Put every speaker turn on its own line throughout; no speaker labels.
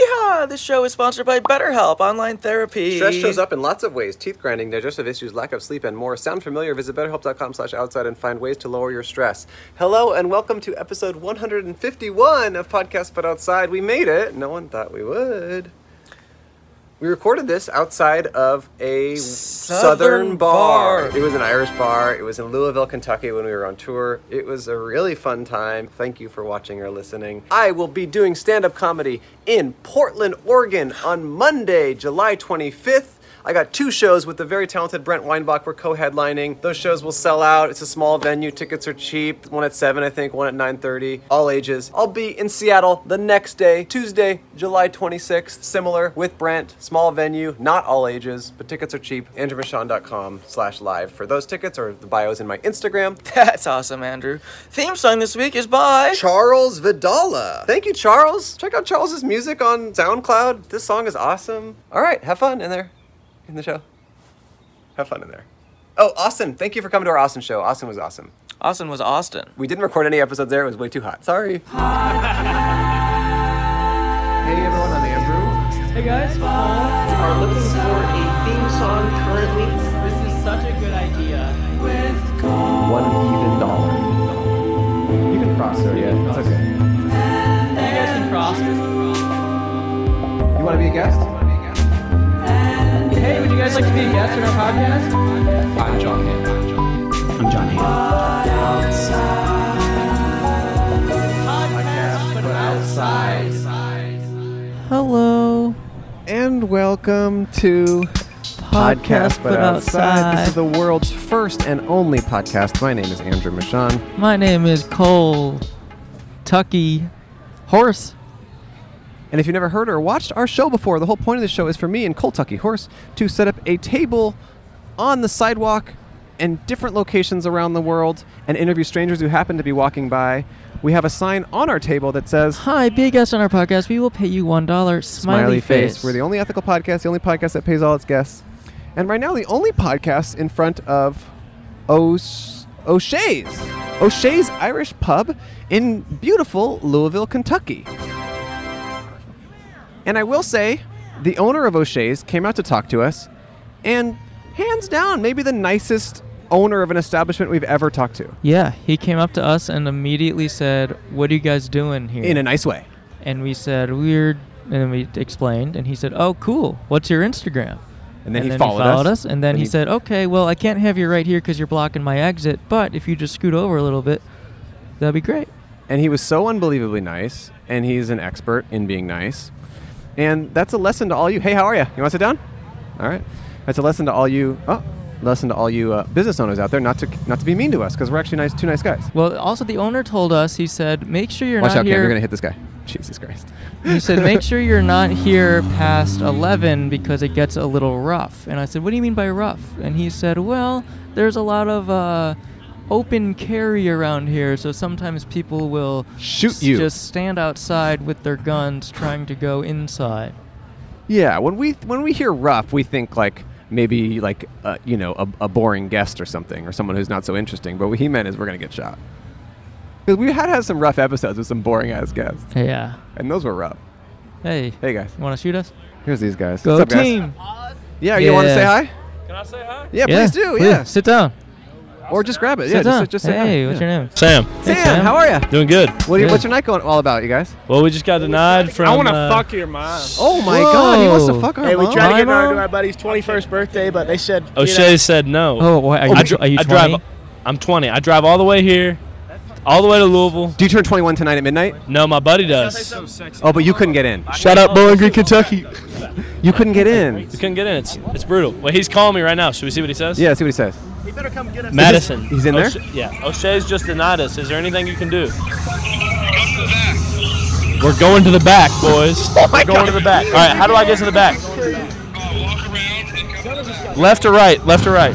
Ah, this show is sponsored by BetterHelp Online Therapy.
Stress shows up in lots of ways: teeth grinding, digestive issues, lack of sleep, and more. Sound familiar? Visit BetterHelp.com/outside and find ways to lower your stress. Hello, and welcome to episode 151 of Podcast But Outside. We made it. No one thought we would. We recorded this outside of a southern
Southern
bar.
bar.
It was an Irish bar. It was in Louisville, Kentucky when we were on tour. It was a really fun time. Thank you for watching or listening. I will be doing stand up comedy in Portland, Oregon on Monday, July 25th. I got two shows with the very talented Brent Weinbach. We're co-headlining. Those shows will sell out. It's a small venue. Tickets are cheap. One at seven, I think. One at nine thirty. All ages. I'll be in Seattle the next day, Tuesday, July twenty sixth. Similar with Brent. Small venue. Not all ages, but tickets are cheap. AndrewMachon.com/live for those tickets, or the bios in my Instagram.
That's awesome, Andrew. Theme song this week is by.
Charles Vidala. Thank you, Charles. Check out Charles's music on SoundCloud. This song is awesome. All right, have fun in there, in the show. Have fun in there. Oh, Austin, thank you for coming to our Austin show. Austin was awesome.
Austin was Austin.
We didn't record any episodes there. It was way too hot. Sorry. hey, everyone. I'm Andrew.
Hey guys,
are looking for a theme song currently.
this is such a good idea.
One even dollar. You can cross her. Yeah, it's okay.
You guys can cross.
You want to be a guest?
Hey, would you guys like to be a guest on our podcast?
I'm John. I'm John.
Podcast, but outside.
Hello.
And welcome to Podcast But Outside. This is the world's first and only podcast. My name is Andrew Michon.
My name is Cole
E.
Tucky Horse.
And if you've never heard or watched our show before, the whole point of the show is for me and Cole Tucky Horse to set up a table on the sidewalk and different locations around the world and interview strangers who happen to be walking by. We have a sign on our table that says
Hi, be a guest on our podcast. We will pay you $1. Smiley,
Smiley face. We're the only ethical podcast, the only podcast that pays all its guests. And right now, the only podcast in front of O'S- O'Shea's. O'Shea's Irish Pub in beautiful Louisville, Kentucky. And I will say, the owner of O'Shea's came out to talk to us, and hands down, maybe the nicest owner of an establishment we've ever talked to
Yeah, he came up to us and immediately said, What are you guys doing here?
in a nice way.
and we said, Weird. And then we explained, and he said, Oh, cool. What's your Instagram?
And then he followed us.
And then
And
he,
he-
said, Okay, well, I can't have you right here because you're blocking my exit, but if you just scoot over a little bit, that'd be great.
and he was so unbelievably nice and he's an expert in being nice and that's a lesson to all you hey how are you you want to sit down all right that's a lesson to all you oh, lesson to all you uh, business owners out there not to not to be mean to us because we're actually nice two nice guys
Well, also, the owner told us, he said, Make sure you're
watch
not
out
here.
Cam, you're gonna hit this guy jesus christ
He said, make sure you're not here past 11 because it gets a little rough. And I said, what do you mean by rough? And he said, well, there's a lot of uh, open carry around here, so sometimes people will
Shoot
s-
you.
just stand outside with their guns trying to go inside.
yeah when we when we hear rough we think like maybe like uh, you know a, a boring guest or something or someone who's not so interesting but what he meant is we're gonna get shot because we had had some rough episodes with some boring ass guests
Yeah.
and those were rough
Hey,
hey guys
you want to shoot us?
here's these guys
Go
What's up, guys?
team.
Yeah, you want to
Yeah.
say hi?
Can I say hi?
Yeah, please do.
please.
Yeah,
Sit down.
or just grab it. Yeah,
sit down.
just, just say
hey,
hi.
what's
yeah.
your name?
Sam,
Sam,
Hey, Sam.
how are you?
doing good.
What are you,
Good.
what's your night going all about, you guys?
Well, we just got denied from.
I want to
uh,
fuck your mom.
Oh my God, he wants to
Whoa.
fuck our
Hey, we
mom.
tried to get
My
her
mom?
to our buddy's 21st birthday, but they said. you
O'Shea Oh, said no.
Oh, why, are you,
I, dr-
are you
I
20?
drive. I'm 20. I drive all the way here, all the way to Louisville.
do you turn 21 tonight at midnight?
No, my buddy
know-
does.
Oh, but you couldn't get in.
Shout out Bowling Green, Kentucky.
You couldn't get in.
We couldn't get in. It's it's brutal. Wait, he's calling me right now. Should we see what he says?
Yeah, see what he says.
He better come get us.
Madison.
He's in there?
O'Shea- yeah. O'Shea's just denied us. Is there anything you can do? We're going to the back, boys.
Oh
We're going to the back. All right. How do I get to the back? Left or right? Left or right?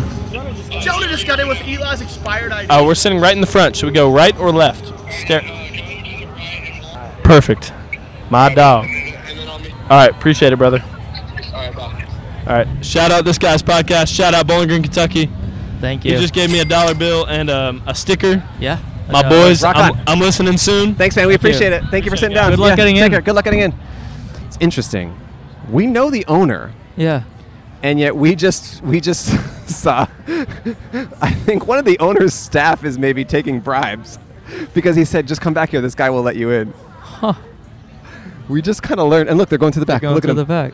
Jonah just got in with Eli's expired ID.
Uh, we're sitting right in the front. Should we go right or left? Stare- Perfect. My dog. All right, appreciate it, brother. All right. Shout out this guy's podcast. Shout out Bowling Green, Kentucky.
Thank
He
you.
just gave me a dollar bill and um, a sticker.
yeah.
My
Uh,
boys,
rock
I'm,
on.
I'm listening soon.
Thanks, man. We appreciate it. Thank you for sitting down.
Good luck
Yeah,
getting
take
in.
care. Good luck getting in. interesting. We know the owner,
Yeah.
and yet we just we just saw. I think one of the owner's staff is maybe taking bribes, because he said, "Just come back here. This guy will let you in."
Huh.
We just kind of learned. And look, they're going to the back.
Going
look
to
at
the
them.
back.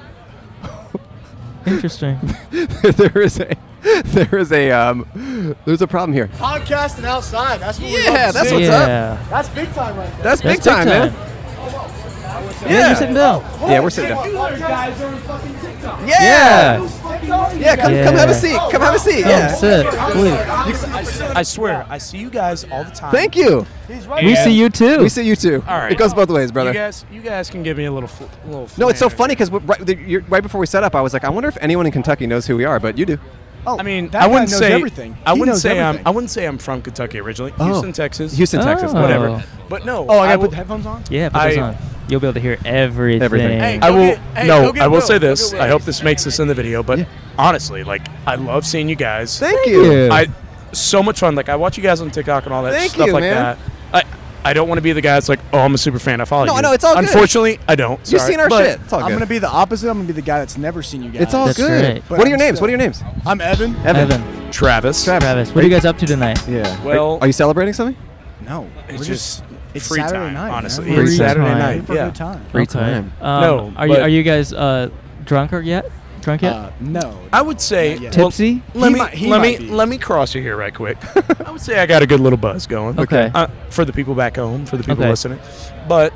Interesting.
there is a there is a um there's a problem here.
Podcasting outside. That's what we
Yeah,
love to
that's
see.
what's up.
yeah.
That's big time right there.
That's, big,
That's
time, man.
Yeah. you're sitting down.
Yeah, we're sitting down.
guys are on fucking TikTok.
Yeah. Yeah, come, come have a
Yeah.
seat. Come have a seat.
Come
Yeah.
sit. Please.
I swear, I see you guys all the time.
Thank you.
We see you too.
We see you too.
All right.
It goes both ways, brother.
You guys, you guys can give me a little, fl- little.
no, it's so
flatter.
funny because right, the- you're- right before we set up, I was like, I wonder if anyone in Kentucky knows who we are, but you do. oh,
I mean,
that
I
guy
wouldn't
knows
say
everything.
I
He
wouldn't
knows
say
everything.
I'm. I wouldn't say I'm from Kentucky originally. Houston, Texas.
Oh. Houston, Texas.
Oh.
Whatever.
Oh.
But no.
Oh, I gotta
will-
put headphones on?
Yeah, put
I-
those on. You'll be able to hear everything.
Everything.
Hey,
I,
go
will-
get- hey,
no,
go get
I will
Will.
say
Go get
this.
Will.
I hope this
makes this in the video. But honestly, like I love seeing you guys.
Thank you.
I so much fun. Like I watch you guys on TikTok and all that
Thank
stuff
you,
like
man.
that. I I don't want to be the guy that's like, oh, I'm a super fan. I follow
No,
you.
no, it's all good.
Unfortunately, I don't.
You've
Sorry.
seen our
But-
shit. It's all
I'm
good.
gonna be the opposite. I'm gonna be the guy that's never seen you guys.
it's all
That's
good.
right.
What are your
But I'm
names? What are your names?
I'm Evan.
Evan,
Travis.
Travis, what are you guys up to tonight?
Yeah.
Well-
are, you celebrating something?
No,
It's
we're
just,
just it's
free
Saturday
time.
night,
honestly,
man.
Free
it's Saturday
time.
night.
for a
Yeah.
good time.
Free time.
Um,
No,
Are you,
but-
are you guys uh, drunk or yet? Drunk yet?
Uh, no,
I would say
yet.
well,
Tipsy?
let
He
me
might- he
let me
might be.
let me cross you here right quick. I would say I got a good little buzz going.
Okay.
Uh, for the people back home, for the people
Okay.
listening, but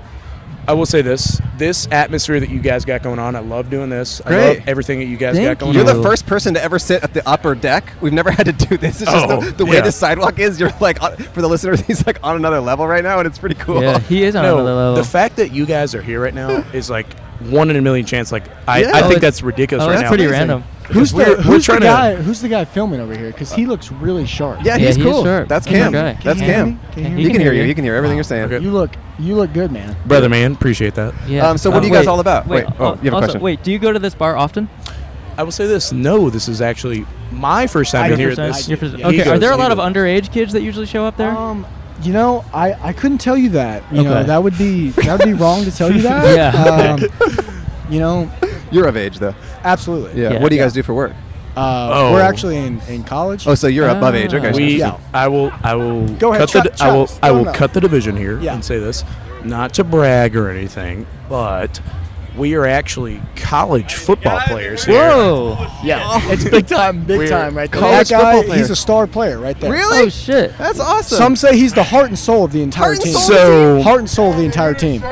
I will say this: this atmosphere that you guys got going on, I love doing this. I love
Great.
everything that you guys
Thank
got going
You're
on.
the
Ooh.
first person to ever sit at the upper deck. We've never had to do this. It's just
Oh,
the, the way
yeah.
the sidewalk is. You're like, on, for the listeners, he's like on another level right now, and it's pretty cool.
yeah, he is on
no,
another level.
the fact that you guys are here right now is like one in a million chance. Like I, I
Yeah. Oh,
think
it's-
that's ridiculous
oh,
right
that's
now.
pretty random.
Who's we're, we're
who's the
trying
guy-
to
who's the guy filming over here? Because he looks really sharp.
Uh, Yeah,
Yeah,
he's,
he's
cool.
sharp.
That's
He's a
Cam.
good guy.
That's
Can
you hear
Cam.
me? Can you hear
He can hear you. He can hear everything you're saying.
Okay.
You look you look good, man.
brother man. Appreciate that.
Yeah. Uh,
Um, so what are you guys all about?
Wait.
Wait, oh,
al-
you have a
also,
question.
Wait. Do you go to this bar often?
I will say this: no, this is actually my first time
I
being
do
here.
Your
at
first
This
time? Your first-
He
okay. are
goes,
there a
he
lot of
goes.
underage kids that usually show up there?
Um, you know, I, I couldn't tell you that. You know,
Okay.
that would be that would be wrong to tell you that.
Yeah.
Um, you know,
You're of age though.
absolutely.
Yeah.
Yeah.
What do you guys do for work?
Uh,
Oh.
We're actually in, in college. Uh,
Oh, so you're above age. Okay.
Ah.
We,
Yeah.
I will, I will
Go ahead,
cut the,
Chuck-
I will,
Chuck,
I
no,
will
no.
cut the division here
Yeah.
and say this, not to brag or anything, but we are actually college football players here.
Whoa.
yeah, it's big time, big
Weird.
time, right there.
College
that guy,
football player.
he's a star player, right there.
Oh shit.
That's awesome.
Some say he's the heart and soul of the entire
Heart and
team.
soul
of the So- team?
heart and soul of the entire team.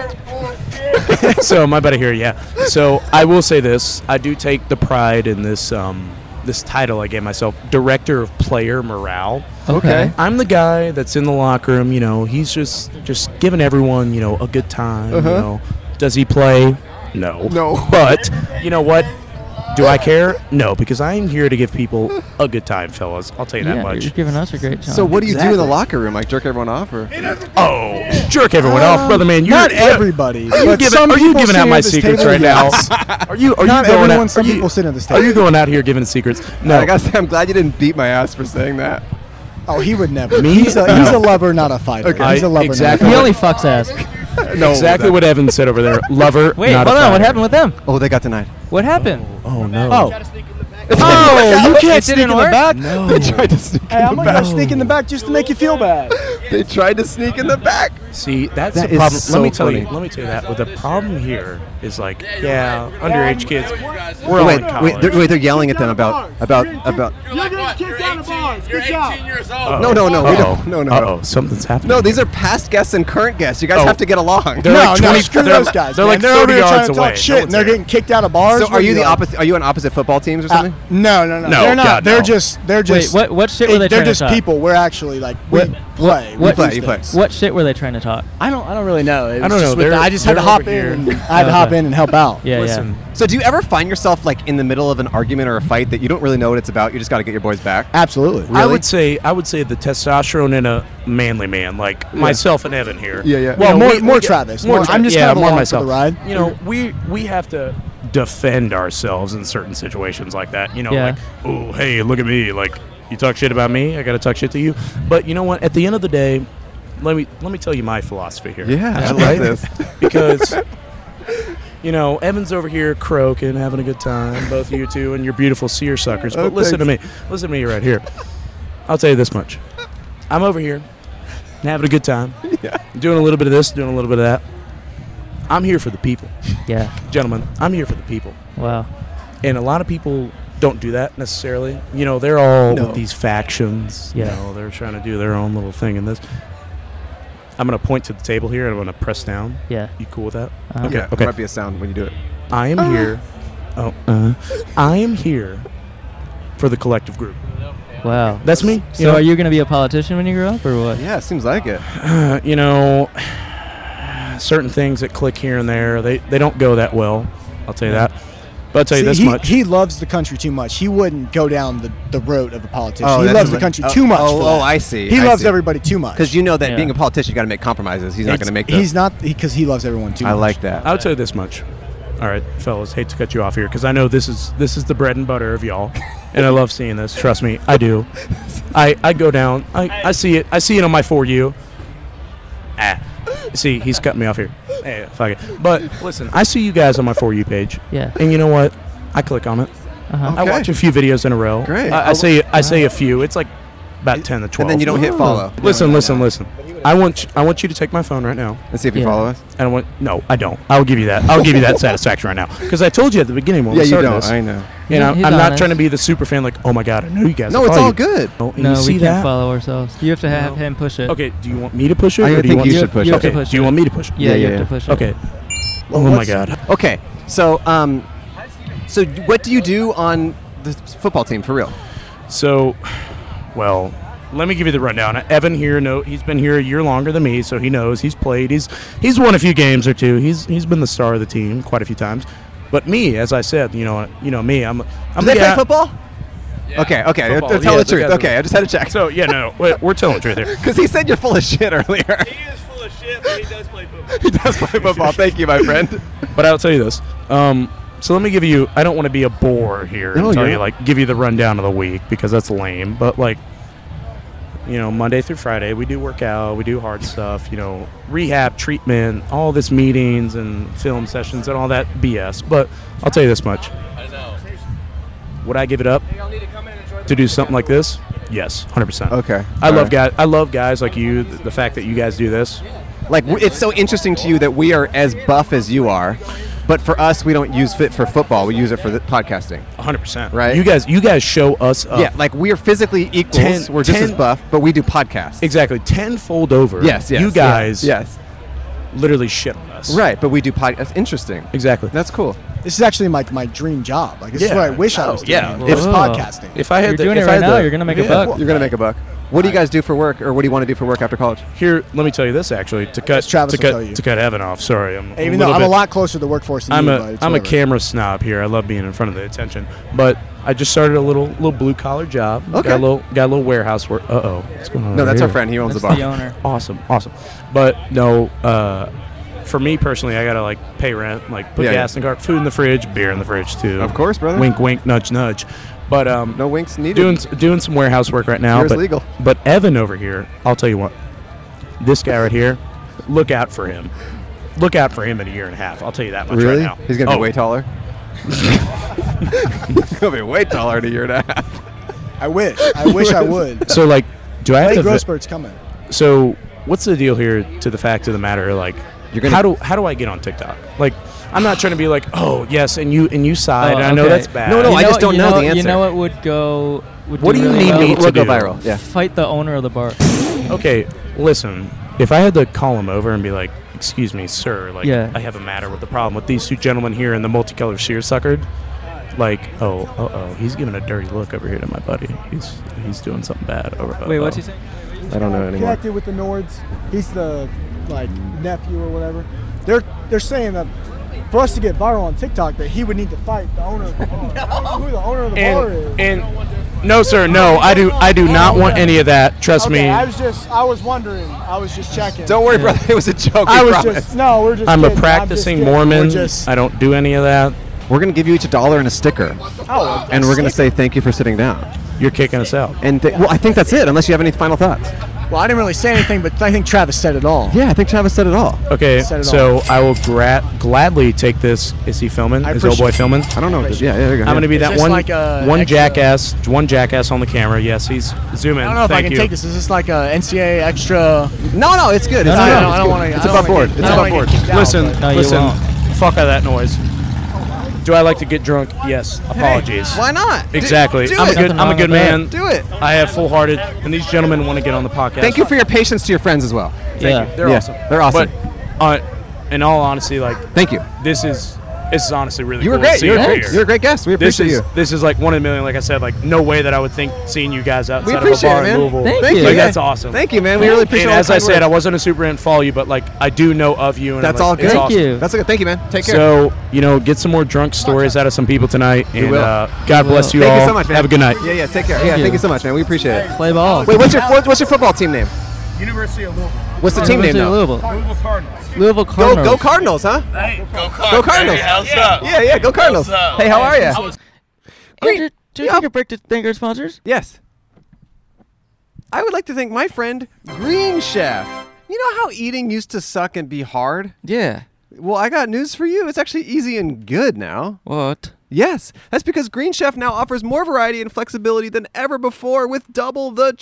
so my buddy here, yeah. So I will say this: I do take the pride in this, um, this title I gave myself, director of player morale.
Okay.
I'm the guy that's in the locker room. You know, he's just just giving everyone you know a good time. You know, does he play? No.
Uh-huh. No.
But you know what? Do I care? No, because I'm here to give people a good time, fellas. I'll tell you that
Yeah,
much.
you're giving us a great time.
So what do you do in the locker room? Like jerk everyone off, or
Oh, jerk everyone off, brother man. You're
Um, Not everybody.
Are you,
but
giving,
some
are you
people
giving out
sitting
my
at this
secrets
table,
right now?
yes.
Are you? Are
Not
you going
everyone.
Out,
Some
are you-
people sit at this
Are
table.
you going out here giving secrets? No.
I gotta say, I'm glad you didn't beat my ass for saying that.
Oh, he would never.
Me?
He's a, he's a
No.
lover, not a fighter.
Okay.
He's a lover.
Exactly.
He
Not a
only fucks ass.
no, exactly what Evan said over there. Lover.
Wait.
not
Hold
a
on. What
fighter.
happened with them?
Oh, they got denied.
What happened?
Oh no.
fighter. Oh,
Oh, you can't sneak in the back.
They tried to sneak.
hey, I'm gonna go sneak in the back just to make you feel bad.
They tried to sneak in the back.
See, that's
That
the
is
problem.
so
let me tell you.
funny.
Let me tell you that. But the problem here is like, yeah, underage kids. We're all
Oh. Wait,
in college.
wait, they're, wait, they're yelling at them about about about.
You're like what? You're 18, you're 18 years old.
Uh-oh.
No, no, no, we
Uh-oh.
don't- no, no,
Uh-oh.
no.
Something's happening.
No, these are past guests and current guests. You guys
Oh.
have to get along.
They're
no,
like
no,
20
screw
they're-
those guys.
they're
man.
like
they're over
30
here trying
yards
to
away.
Talk
No
shit,
one's
and they're
there.
getting kicked out of bars.
So
What
are you the
doing?
opposite? Are you on opposite football teams or
Uh,
something?
no, no, no,
No,
They're not.
God,
they're
no.
just. They're just.
what- what shit were they
They're
trying to
just
talk?
people. We're actually like we
What-
play.
what-
we
You
do
play, you play.
things.
What shit were they trying to talk?
I don't. I don't really know. It
I
was
don't
just
know.
with
They're-
the- I just had to
they're
hop
over
in.
here.
and- I had to hop in and help out.
Yeah.
Listen,
So do you ever find yourself like in the middle of an argument or a fight that you don't really know what it's about? You just got to get your boys back.
Absolutely.
I
Really?
would say I would say the testosterone in a manly man, like myself and Evan here.
Yeah, yeah.
You
Well,
know,
more-
we-
more
we get-
Travis. More-
Tra-
I'm just
yeah,
kind of
more
along for
myself.
the ride.
You know, we we have to defend ourselves in certain situations like that. You know,
Yeah.
like oh hey, look at me, like you talk shit about me, I got to talk shit to you. But you know what? At the end of the day, let me let me tell you my philosophy here.
Yeah, I
Right?
love this.
because you know, Evan's over here croaking, having a good time, both you two and your beautiful seersuckers. But
Oh,
listen to me. Listen to me right here. I'll tell you this much. I'm over here having a good time, doing a little bit of this, doing a little bit of that. I'm here for the people.
Yeah.
Gentlemen, I'm here for the people.
Wow.
And a lot of people don't do that necessarily. You know, they're all
Oh, No.
with these factions.
Yeah.
You know, they're trying to do their own little thing in this. I'm going to point to the table here and I'm going to press down.
Yeah.
You cool with that?
Uh-huh.
Okay.
There
Okay.
might be a sound when you do it.
I am here. Oh, uh, I am here for the collective group.
Wow.
That's me.
So are you gonna be a politician when you grow up, or what?
Yeah, it seems like it.
Uh, you know, certain things that click here and there, they, they don't go that well. I'll tell you that. But I'll tell you
See,
this
he,
much.
he loves the country too much. He wouldn't go down the, the road of a politician.
Oh,
he
that's
loves the
what-
country
oh,
too much.
oh,
for that.
oh, I see,
He
I
loves
see.
everybody too much.
Because you know that
Yeah.
being a politician, you got to make compromises. He's not
It's-
going to make those.
he's not because he loves everyone too
I
much.
like that.
I'll tell you this much. All right, fellas, hate to cut you off here because I know this is this is the bread and butter of y'all, and I love seeing this. Trust me, I do. I, I go down. I, I see it. I see it on my for you. Ah, see, he's cutting me off here. Hey, fuck it. But listen, I see you guys on my for you page,
Yeah.
and you know what? I click on it. I
Okay.
watch a few videos in a row.
Great.
I, I say I say a few. It's like about ten to twelve.
and then you don't hit follow.
Listen, listen, listen. I want you- I want you to take my phone right now.
Let's see if you
Yeah.
follow us.
And I went, no, I don't. I'll give you that. I'll give you that satisfaction right now. Because I told you at the beginning when
yeah,
we
you
started
don't.
this.
I know.
you know,
He's
I'm not
honest.
trying to be the super fan. Like, oh my god, I know you guys.
No,
will
it's
follow
all
you."
good.
Oh, and
No,
you see
we can't
that?
follow ourselves. You have to have
No.
him push it.
Okay, do you want me to push it? or
I
do you
think
want
you
You
should
have,
push
you have
it.
to
Okay,
push
do you
it.
want me to push it?
Yeah,
Yeah,
you
yeah,
have
yeah.
to push it.
Okay.
Well,
oh my
what's-
god.
Okay, so um, so what do you do on the football team for real?
So, well, let me give you the rundown. Evan here, no, he's been here a year longer than me, so he knows. He's played. He's he's won a few games or two. He's he's been the star of the team quite a few times. But me, as I said, you know, you know me. I'm. I'm
Do they
the guy-
play football? Okay, okay.
Football, yeah,
Tell the
the guys
truth.
are-
Okay, I just had to check.
So yeah, no, we're, we're telling the truth here.
Because he said you're full of shit earlier.
He is full of shit, but he does play football.
he does play football. Thank you, my friend.
But I'll tell you this. Um, so let me give you. I don't want to be a bore here
No,
and tell
you're
you
not.
like give you the rundown of the week because that's lame. But like, you know, Monday through Friday we do work out, we do hard stuff. You know, rehab, treatment, all this meetings and film sessions and all that BS. But I'll tell you this much. Would I give it up to do something like this? Yes, hundred percent.
Okay.
I
All
love
right.
guys. I love guys like you. The, the fact that you guys do this.
Like w- it's so interesting to you that we are as buff as you are, but for us, we don't use fit for football. We use it for the podcasting.
100%.
Right.
You guys you guys show us up.
yeah, like we are physically equals.
Ten-
We're just as
ten-
buff, but we do podcasts.
Exactly, tenfold over.
Yes, yes.
You guys,
Yes.
literally shit on us.
Right, but we do podcast. That's interesting.
Exactly.
That's cool.
This is actually like my dream job. Like this is
Yeah.
what I wish I
Oh,
was doing.
yeah.
It was
Whoa.
podcasting.
If I had
You're
the,
doing
if
it
I had
right now.
the-
You're gonna make a
yeah.
buck.
You're gonna make a buck. What do you guys do for work, or what do you want to do for work after college?
Here, let me tell you this actually. To cut
Travis
to
will
cut
tell you.
to cut Evan off. Sorry, I'm
Even
little
though I'm a
bit-
lot closer to the workforce than
I'm
you,
a
but it's
am a
whatever.
camera snob here. I love being in front of the attention, but I just started a little little blue collar job.
Okay.
Got a little got a little warehouse work. Uh oh. What's going on?
No,
over
that's our
here?
friend. He owns
That's
the bar.
the owner.
Awesome, awesome. But no, uh, for me personally, I gotta like pay rent, like put
Yeah,
gas in the car, food in the fridge, beer in the fridge too.
Of course, brother.
Wink, wink, nudge, nudge. But um,
No winks needed.
doing doing some warehouse work right now.
Yours
but
legal.
but Evan over here, I'll tell you what, this guy right here, look out for him. Look out for him in a year and a half. I'll tell you that much
really?
right now.
He's gonna
Oh,
be way taller. He's gonna be way taller in a year and a half.
I wish. I wish I would.
So like, do I have
Blake
to? vi-
Grossbert's coming.
so what's the deal here to the fact of the matter like
You're gonna-
how do how do i get on tiktok like i'm not trying to be like oh yes and you and you sighed
Oh,
and i know
okay.
that's bad
No, no,
You
I just
what-
don't
you
know the
You
answer.
know what would go? Would
What do you
really
need
well?
me to
We'll go
do?
viral. Yeah.
Fight the owner of the bar.
okay listen if i had to call him over and be like excuse me sir like
Yeah.
i have a matter with the problem with these two gentlemen here in the multicolored seersuckered like oh uh oh he's giving a dirty look over here to my buddy he's he's doing something bad over
Wait,
uh-oh."
what's he saying?
I don't know anymore.
Connected with the Nords. He's the like nephew or whatever. They're they're saying that for us to get viral on TikTok, that he would need to fight the owner of the bar. I don't know who the owner of the bar is.
and and no sir no i do i do not want any of that trust
okay,
me
I was just I was wondering. I was just checking.
Don't worry, brother. It was a joke.
I
we
was
promise.
just no. We're just.
I'm a
kidding,
practicing
just kidding.
Mormon.
We're just,
I don't do any of that.
We're gonna give you each a dollar and a sticker,
oh,
and we're gonna say thank you for sitting down.
You're kicking us out.
And th- well, I think that's it. Unless you have any final thoughts.
Well, I didn't really say anything, but I think Travis said it all.
Yeah, I think Travis said it all.
Okay,
Set it
so I will gra- gladly take this. Is he filming?
I
Is old boy
appreciate-
filming?
I don't know. What this, yeah, yeah, there you go.
I'm gonna be
Is
that
this
one,
like a
one
extra-
jackass, one jackass on the camera. Yes, he's zoom in.
I don't know if
Thank
I can
you.
take this. Is this like a NCAA extra?
No, no, it's good. It's
I
good.
don't- I
it's
don't
good.
wanna- I
It's
don't
above
wanna
board.
get-
It's
I don't
above board.
wanna get kicked out,
Listen,
but-
No, you
listen.
won't.
Fuck out that noise. Do I like to get drunk? Yes. Apologies.
Why not? Do-
Exactly.
Do,
I'm a
it.
good.
Nothing
I'm a
wrong
good
with that.
man.
Do it.
I have full hearted, and these gentlemen want to get on the podcast.
Thank you for your patience to your friends as well.
yeah.
They're
Yeah,
awesome.
They're awesome.
But uh, in all honesty, like
Thank you.
this is this is honestly really.
You were
cool to
great.
see
You were
out
great.
here.
You were a great guest. We
This is
appreciate you.
this is like one in a million. Like I said, like no way that I would think seeing you guys
We
outside of a
appreciate
bar
it,
in
man.
Louisville.
Thank,
Thank
you.
you.
Like,
yeah.
that's awesome.
Thank you, man. We really appreciate
And
all the
as I
kind
said, I
words.
wasn't a super ant follow you, but like I do know of you. And
that's
I'm
all
like,
good.
it's
Thank
awesome.
you.
That's okay. Thank you, man. Take care.
So you know, get some more drunk stories out of some people tonight, and
will.
uh, God
We
bless
will.
you
thank
all.
you so much, man.
Have a good night.
Yeah, yeah. Take care. yeah,
you.
thank you so much, man. We appreciate it.
Play ball.
Wait, what's your what- what's your football team name?
University of Louisville.
What's the team name
University of
now?
Louisville.
Louisville Cardinals.
Louisville
Go
Cardinals.
go Cardinals, huh?
Go
Go Cardinals. Yeah, yeah. Go Cardinals. Hey, how are you?
Andrew, do you
Yeah.
take a break to thank our sponsors?
Yes. I would like to thank my friend Green Chef. You know how eating used to suck and be hard?
Yeah.
Well, I got news for you. It's actually easy and good now.
What?
Yes, that's because Green Chef now offers more variety and flexibility than ever before with double the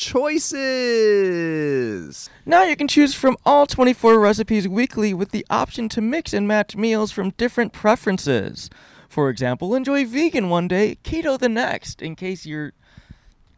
choices.
Now you can choose from all 24 recipes weekly with the option to mix and match meals from different preferences. For example, enjoy vegan one day, keto the next, in case you're.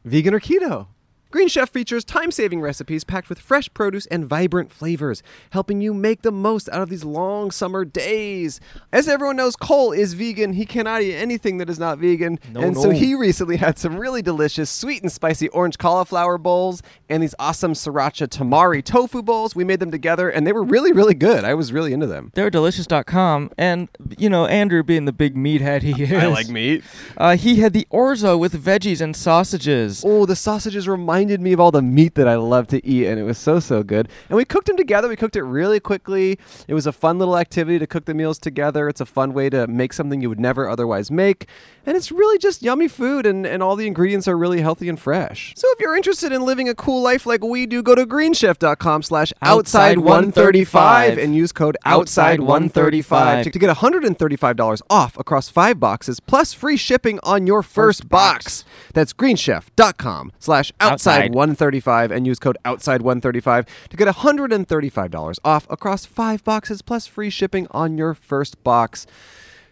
Vegan or keto? Green Chef features time saving recipes packed with fresh produce and vibrant flavors, helping you make the most out of these long summer days. As everyone knows, Cole is vegan. He cannot eat anything that is not vegan. and so he recently had some really delicious sweet and spicy orange cauliflower bowls and these awesome sriracha tamari tofu bowls. We made them together and they were really, really good. I was really into them.
They're delicious.com, and, you know, Andrew being the big meathead he is. I like meat. Uh, he had the orzo with veggies and sausages.
Oh, the sausages reminded me of all the meat that I love to eat, and it was so, so good. And we cooked them together. We cooked it really quickly. It was a fun little activity to cook the meals together. It's a fun way to make something you would never otherwise make. And it's really just yummy food, and, and all the ingredients are really healthy and fresh. So if you're interested in living a cool life like we do, go to greenchef.com slash outside135 and use code outside135 to, to get $135 off across five boxes plus free shipping on your first, box. That's greenchef.com slash
Outside.
outside135 and use code outside135 to get $135 off across five boxes plus free shipping on your first box.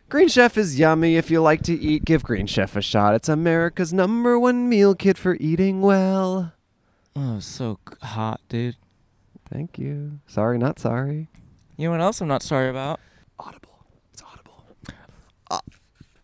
Green Chef is yummy. If you like to eat, give Green Chef a shot. It's America's number one meal kit for eating well.
Oh, so c- hot, dude.
Thank you. Sorry, not sorry.
You know what else I'm not sorry about?
Audible. It's audible.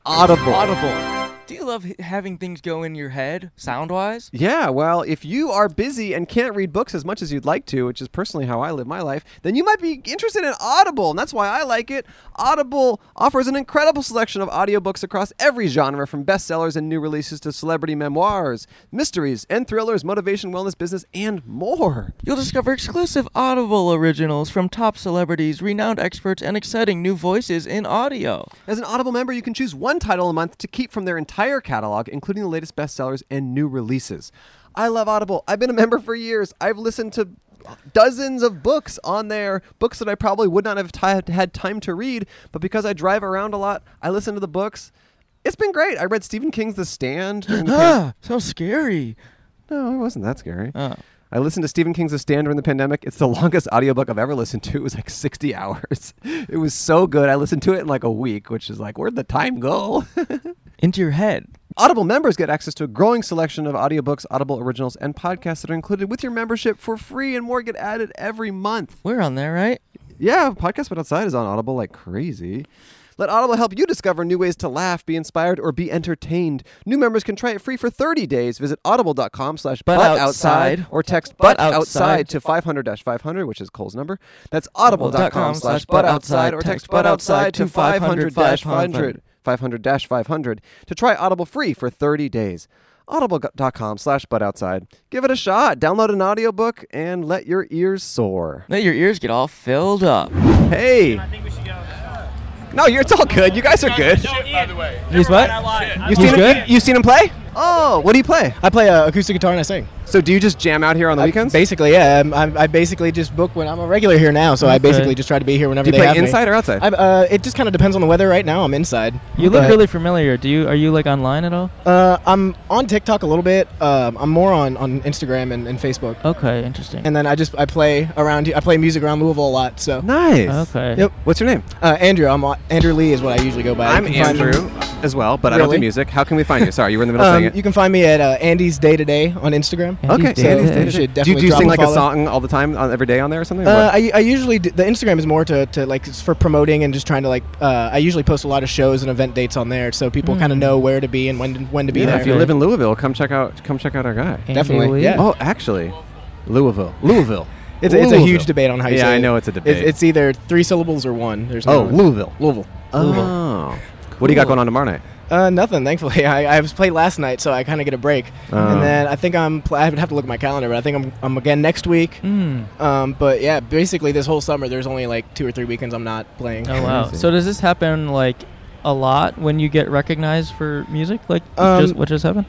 audible.
Audible. Do you love h- having things go in your head, sound wise?
Yeah, well, if you are busy and can't read books as much as you'd like to, which is personally how I live my life, then you might be interested in Audible, and that's why I like it. Audible offers an incredible selection of audiobooks across every genre, from bestsellers and new releases to celebrity memoirs, mysteries, and thrillers, motivation, wellness, business, and more.
You'll discover exclusive Audible originals from top celebrities, renowned experts, and exciting new voices in audio.
As an Audible member, you can choose one title a month to keep from their entire catalog, including the latest bestsellers and new releases. I love Audible. I've been a member for years. I've listened to dozens of books on there, books that I probably would not have ti- had time to read, but because I drive around a lot, I listen to the books. It's been great. I read Stephen King's The Stand. during the pan-
Ah, so scary.
no, it wasn't that scary.
Oh.
I listened to Stephen King's The Stand during the pandemic. It's the longest audiobook I've ever listened to. It was like 60 hours. It was so good. I listened to it in like a week, which is like, where'd the time go?
Into your head.
Audible members get access to a growing selection of audiobooks, Audible originals, and podcasts that are included with your membership for free, and more get added every month.
We're on there, right?
Yeah, Podcast But Outside is on Audible like crazy. Let Audible help you discover new ways to laugh, be inspired, or be entertained. New members can try it free for 30 days. Visit audible.com slash
But
butt
outside.
outside or text
But
butt outside
outside.
to 500-500, which is Cole's number. That's audible.com slash butt
Butt
outside or
outside.
text butt outside to 500-500.
500-500.
500-500 to try Audible free for 30 days. Audible.com slash butt outside. Give it a shot. Download an audiobook and let your ears soar.
Let your ears get all filled up.
Hey.
I think we should go.
No, you're, it's all good. You guys are good.
Shit, by the way.
He's what?
I lied.
You seen
good?
him? You seen him play? Oh, what do you play?
I play uh, acoustic guitar and I sing.
So do you just jam out here on the weekends?
Basically, yeah. I'm, I'm, I basically just book when I'm a regular here now, so I
Okay.
basically just try to be here whenever
Do you
they
play
have me.
inside or outside?
I'm, uh, it just kind of depends on the weather. Right now, I'm inside.
You look
But,
really familiar. Do you are you like online at all?
Uh, I'm on TikTok a little bit. Um, I'm more on, on Instagram and, and Facebook.
Okay, interesting.
And then I just I play around. I play music around Louisville a lot. So
Nice.
Okay.
Yep.
What's your name?
Uh, Andrew. I'm uh, Andrew Lee is what I usually go by. You
I'm
can find me-
Andrew as well, but I don't do
Really?
music. How can we find you? Sorry, you were in the middle of
Um,
saying it.
you can find me at uh, Andy's Day to Day on Instagram.
Okay,
Andy's Day
so
to
Andy's
Day. You
should
Day to Day. do, you-
definitely
do you
drop
sing
a
like a
follow.
song all the time, on, every day on there or something? or
Uh,
what?
I, I usually d- the Instagram is more to, to like it's for promoting and just trying to like uh, I usually post a lot of shows and event dates on there so
Hmm.
people kind of know where to be and when to, when to be
yeah,
there.
if you live in Louisville, come check out come check out our guy.
Andy
definitely,
Lee?
yeah.
Oh, actually, Louisville, Louisville.
it's, a, it's a huge
Louisville.
debate on how you
Yeah,
say
I
it.
know it's a debate.
It's, it's either three syllables or one. There's
oh,
no one.
Louisville.
Louisville.
Oh, what do you got going on tomorrow night?
Uh, nothing, thankfully. I, I was played last night, so I kind of get a break.
Oh.
And then I think I'm. Pl- I would have to look at my calendar, but I think I'm. I'm again next week.
Hmm.
Mm.
Um, but yeah, basically this whole summer, there's only like two or three weekends I'm not playing.
Oh wow.
Crazy.
So does this happen like a lot when you get recognized for music? Like
Um,
just what just happened?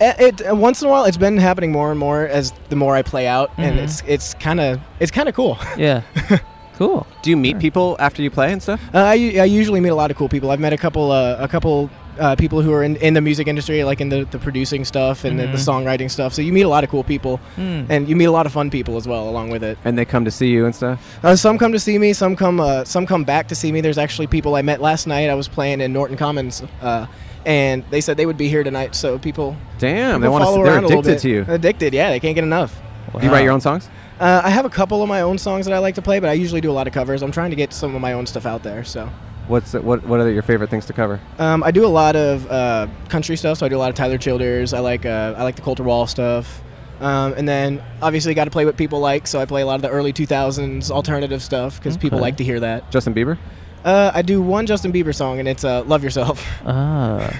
eh, It, it- once in a while, it's been happening more and more as the more I play out, and
Mm-hmm.
Mhm.
it's it's kind of it's kind of cool.
Yeah. cool.
Do you meet people after you play and stuff?
Uh, I, u- I usually meet a lot of cool people. I've met a couple uh, a couple uh, people who are in, in the music industry, like in the, the producing stuff and the,
Mhm.
the songwriting stuff. So you meet a lot of cool people,
Mm.
and you meet a lot of fun people as well along with it.
And they come to see you and stuff.
Uh, some come to see me. Some come. Uh, some come back to see me. There's actually people I met last night. I was playing in Norton Commons, uh, and they said they would be here tonight. So people,
Damn, they
people
want to.
follow
They're
around a little
addicted
bit.
to you.
Addicted, yeah. They can't get enough.
Do you write your
Wow.
own songs?
Uh, I have a couple of my own songs that I like to play, but I usually do a lot of covers. I'm trying to get some of my own stuff out there. So
What's what? What are your favorite things to cover?
um, I do a lot of uh, country stuff. So I do a lot of Tyler Childers. I like uh, I like the Coulter Wall stuff. Um, and then obviously got to play what people like. So I play a lot of the early 2000s alternative stuff because people
Okay.
like to hear that.
Justin Bieber.
Uh, I do one Justin Bieber song, and it's uh, "Love Yourself."
Ah,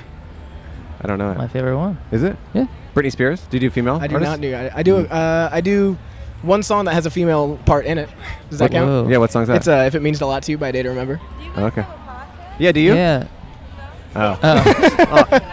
I don't know.
my
that.
favorite one.
Is it?
Yeah.
Britney Spears. Do you do female?
I do
artists?
not do. I, I do.
Hmm.
Uh, I do one song that has a female part in it. Does that
What-
count?
Whoa.
Yeah. What song's that?
It's uh, "If It Means a Lot to You" by Day to Remember.
Oh, okay. Yeah. Do you?
Yeah.
Oh.
Oh.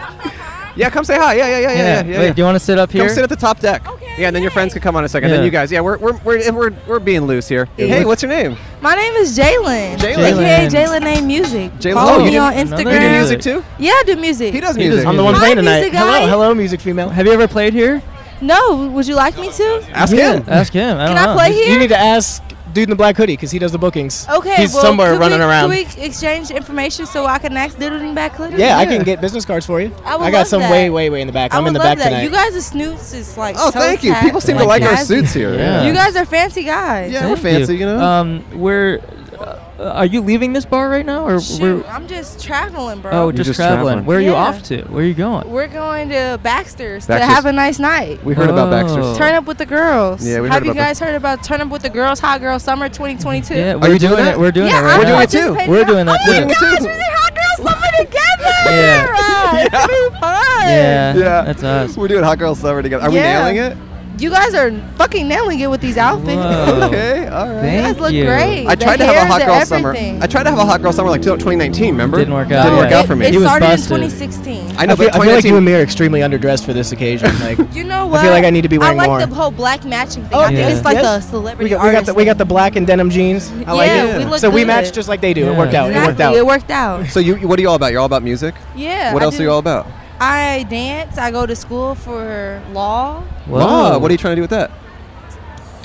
Yeah. Come say hi. Yeah. Yeah. Yeah. Yeah. Yeah.
yeah.
yeah,
Wait,
yeah.
do you want to sit up here?
Come sit at the top deck. Yeah, and then your friends could come on a second. And then
Yeah.
you guys, yeah, we're we're we're, and we're, we're being loose here. Hey,
we're-
what's your name?
My name is Jalen.
Jalen.
AKA Jalen Name Music.
Jalen-
Follow
Oh, you
me
do-
on
another
Instagram.
You do
Graham.
music too?
Yeah, I do music.
He does
He does
music.
I'm the one
Hi,
playing tonight.
music guy.
Hello, hello, music female.
Have you ever played here?
no, would you like me to?
Ask
Yeah.
him.
Ask him. I
Can
don't
I
know.
play
You
here?
need to ask dude in the black hoodie because he does the bookings.
Okay,
he's
well,
somewhere
could
running
we,
around.
Could we exchange information so I can ask Doodling back Hoodie?
yeah, I can get business cards for you.
I would
got
love
some
that.
way, way, way in the back.
I
I'm
would
in the
love
back
that.
tonight.
You guys are snoots. Is like
Oh,
so
thank you.
tight.
People seem to
Like
like our
guys-
suits here.
Yeah.
You guys are fancy guys.
Yeah, we're
Thank you.
fancy, you know?
Um, we're. Uh, are you leaving this bar right now, or
Shoot,
we're?
I'm just traveling, bro.
Oh,
You're
just,
just
traveling.
traveling.
Where are you
Yeah.
off to? Where are you going?
We're going to Baxter's, to
Baxter's.
have a nice night.
We heard about
Whoa.
Baxter's.
Turn up with the girls.
Yeah, we
Have
heard
you
about
guys heard about Turn Up with the Girls Hot Girl Summer 2022?
yeah,
you
we're
doing
doing
that?
it. We're doing
yeah,
it. Right
We're
now.
doing it too.
We're doing that
oh
too.
Oh my gosh, we're the Hot Girl Summer together.
Yeah.
It's gonna be fun.
Yeah. That's us.
We're doing Hot Girl Summer together. Are
Yeah.
we nailing it?
You guys are fucking nailing it with these outfits.
Whoa.
Okay, all right.
You
Thank
guys look
you.
great.
I
The
tried to have a
hair,
hot
the
girl
everything.
summer. I tried to have a hot girl summer like 2019. Remember?
Didn't work out.
Didn't work
Yeah.
out for me.
It,
He
it
was
started in
busted.
2016.
I know,
I feel, I
but
feel like
2019.
you and me are extremely underdressed for this occasion. Like,
you know
I
what?
feel like I need to be wearing
I like
more.
the whole black matching thing.
Oh,
I think
yeah.
it's like
Yes.
a
we
celebrity
got, we got
artist
the we got the
thing.
black and denim jeans. I like
yeah,
it.
we look
So we
good.
matched just like they do. It worked
Yeah.
out.
Exactly.
It worked out.
It worked out.
so you, what are you all about? You're all about music.
Yeah.
what
I
else
do-
are you all about?
I dance. I go to school for law,
Whoa.
Wow, what are you trying to do with that?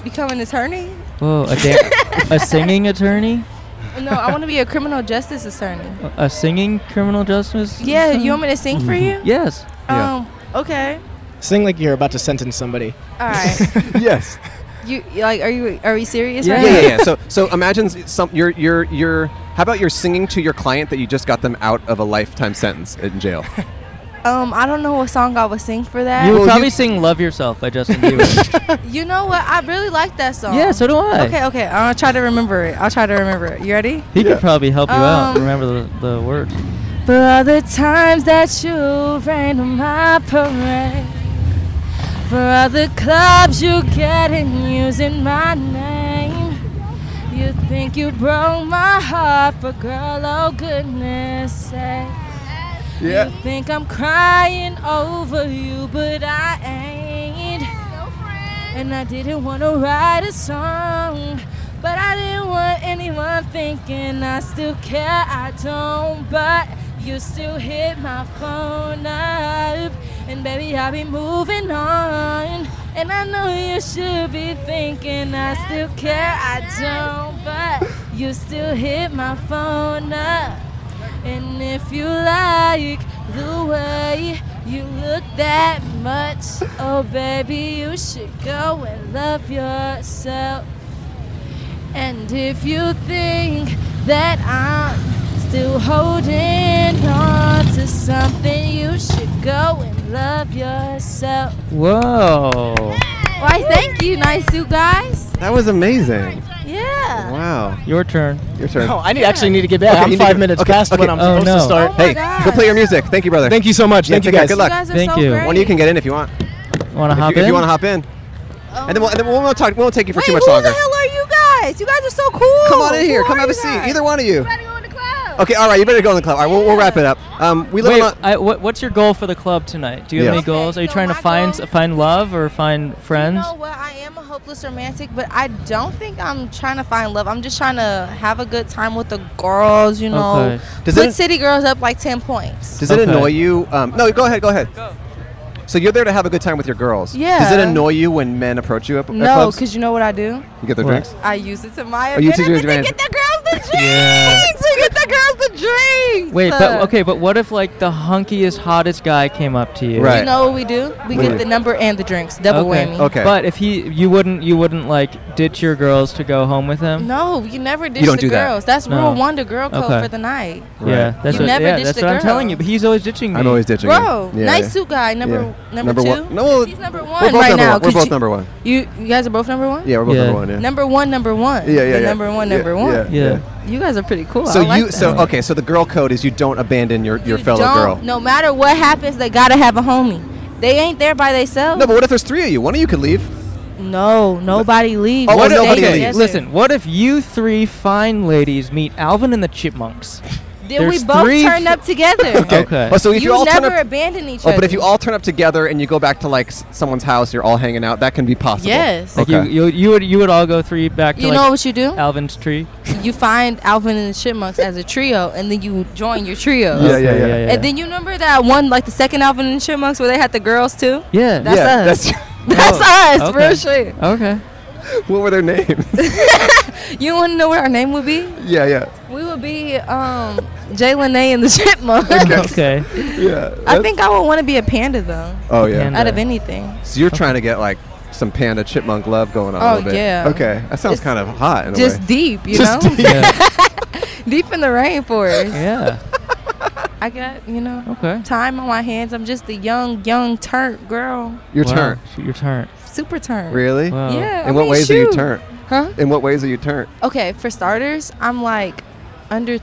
become an attorney.
Whoa. A, dan- a singing attorney?
No, I want to be a criminal justice attorney.
A singing criminal justice?
Yeah,
attorney?
you want me to sing for you?
Mm-hmm.
Yes.
Yeah.
Um, okay.
Sing like you're about to sentence somebody.
All right.
yes.
you you like are you are we serious
Yeah.
right
Yeah,
now?
yeah, yeah. So, so imagine s- some you're you're you're. How about you're singing to your client that you just got them out of a lifetime sentence in jail?
Um, I don't know what song I would sing for that.
You would
Well,
probably
you-
sing "Love Yourself" by Uh, Justin Bieber.
You know what? I really like that song.
yeah, so do I.
Okay, okay. I'll try to remember it. I'll try to remember it. You ready?
He could probably help you out.
Um,
Remember the, the words.
For all the times that you rain on my parade. For all the clubs you get in using my name. You think you broke my heart, but girl, oh goodness sake.
Yeah.
You think I'm crying over you, but I ain't. And I didn't want to write a song, but I didn't want anyone thinking I still care. I don't, but you still hit my phone up. And baby, I'll be moving on. And I know you should be thinking I still care. I don't, but you still hit my phone up. And if you like the way you look that much, oh baby, you should go and love yourself. And if you think that I'm still holding on to something, you should go and love yourself.
Whoa.
Why, thank you, nice you guys.
That was amazing.
Yeah.
Wow.
Your turn.
Your turn.
No, Oh, I need, actually need to get Oh, back.
Okay, you
I'm
need
five
to-
minutes
okay,
past
okay. Oh,
when I'm supposed to
Oh
Oh
start.
Hey, go play your music. Thank you, brother.
Thank you so much.
Yeah,
Thank you
take care.
guys.
Good luck.
You guys are Thank so you. great.
One of you can get in if you want.
Want to
hop
in?
If you want to hop in. And then we'll, and then we'll, not talk, we won't take you for
Wait,
too much
who
longer.
the hell are you guys? You guys are so cool.
Come on in here.
Who
Come
are
have a
you
seat.
guys?
Either one of you. Okay, all right. You better go in the club. All right, we'll, we'll wrap it up. Um, we live
Wait,
on.
I, what, what's your goal for the club tonight? Do you
Yeah.
have any goals? Are you trying to find s find love or find friends?
You know what? I am a hopeless romantic, but I don't think I'm trying to find love. I'm just trying to have a good time with the girls, you know.
Okay. Does
Put
it-
city girls up like 10 points.
Does it annoy you? Um, no, go ahead. Go ahead. So you're there to have a good time with your girls. Does it
Yeah.
annoy you when men approach you at, at
No,
clubs?
because you know what I do?
You get their
What?
drinks.
I use it to my
Oh, you
advantage.
teach your
to
advantage.
get the girls the drinks.
Yeah.
To get the girls the drinks.
Wait, but
Uh,
okay, but what if like the hunkiest, hottest guy came up to you?
You know what we do? We
What do
get
you-
the number and the drinks. Double
okay.
whammy.
But if he, you wouldn't, you wouldn't like ditch your girls to go home with him.
No, you never ditch
You don't
the
do that.
girls. That's
No.
rule one, the girl code
Okay.
for the night.
Yeah, that's
you
what,
never
yeah,
ditch
that's
the
what I'm
girl.
telling you. But he's always ditching me.
I'm always ditching.
Bro,
you.
nice suit guy. Number number,
Number
two.
one. No, well,
he's number one
We're both
right
number
now.
one. We're
Could
both
you-
number one.
You you guys are both number one.
Yeah, we're both number one. Yeah.
Number one, number one.
Yeah, yeah,
The
yeah.
Number one, number
Yeah,
one.
yeah, yeah.
You guys are pretty cool.
So
I like
you so
that.
okay. So the girl code is you don't abandon your your fellow
Don't-
girl.
No matter what happens, they gotta have a homie. They ain't there by themselves.
No, but what if there's three of you? One of you could leave.
No, Oh, nobody
Oh,
leaves.
what
They
if,
stay
okay,
together.
listen, what if you three fine ladies meet Alvin and the Chipmunks?
Then we
There's
both
three
turn
f-
up together.
Okay. Okay.
Oh, so if you, all
never
turn up,
abandon each
oh,
other.
but if you all turn up together and you go back to like s- someone's house, you're all hanging out. That can be possible.
Yes.
Like
Okay.
you, you, you would, you would all go three back to
You
like
know what you do?
Alvin's tree.
you find Alvin and the Chipmunks as a trio, and then you join your trio.
Yeah, yeah, yeah, yeah, yeah.
And then you remember that one, like the second Alvin and the Chipmunks, where they had the girls too.
Yeah.
That's
Yeah,
us.
that's-
That's, us.
Okay.
Real shit.
Okay.
Oh. what were their names?
You want to know what our name would be?
yeah, yeah.
We would be um, Jay Lene and the Chipmunks.
Okay.
Yeah.
I think I would want to be a panda though.
Oh, yeah.
Out of
Panda.
anything.
So you're trying to get like some panda chipmunk love going on. a
Oh,
little bit.
yeah.
Okay, that sounds
Just-
kind of hot. In
Just
a way.
deep, you
Just
know.
deep. Yeah.
deep in the rainforest.
Yeah.
I got you know.
Okay.
Time on my hands. I'm just a young, young turnt girl.
Your
Wow,
turn.
sh- Your turn.
Super turn.
Really?
Yeah.
In
I
what
mean,
ways are you
shoot.
turnt?
Huh?
In what ways are you turnt?
Okay, for starters, I'm like under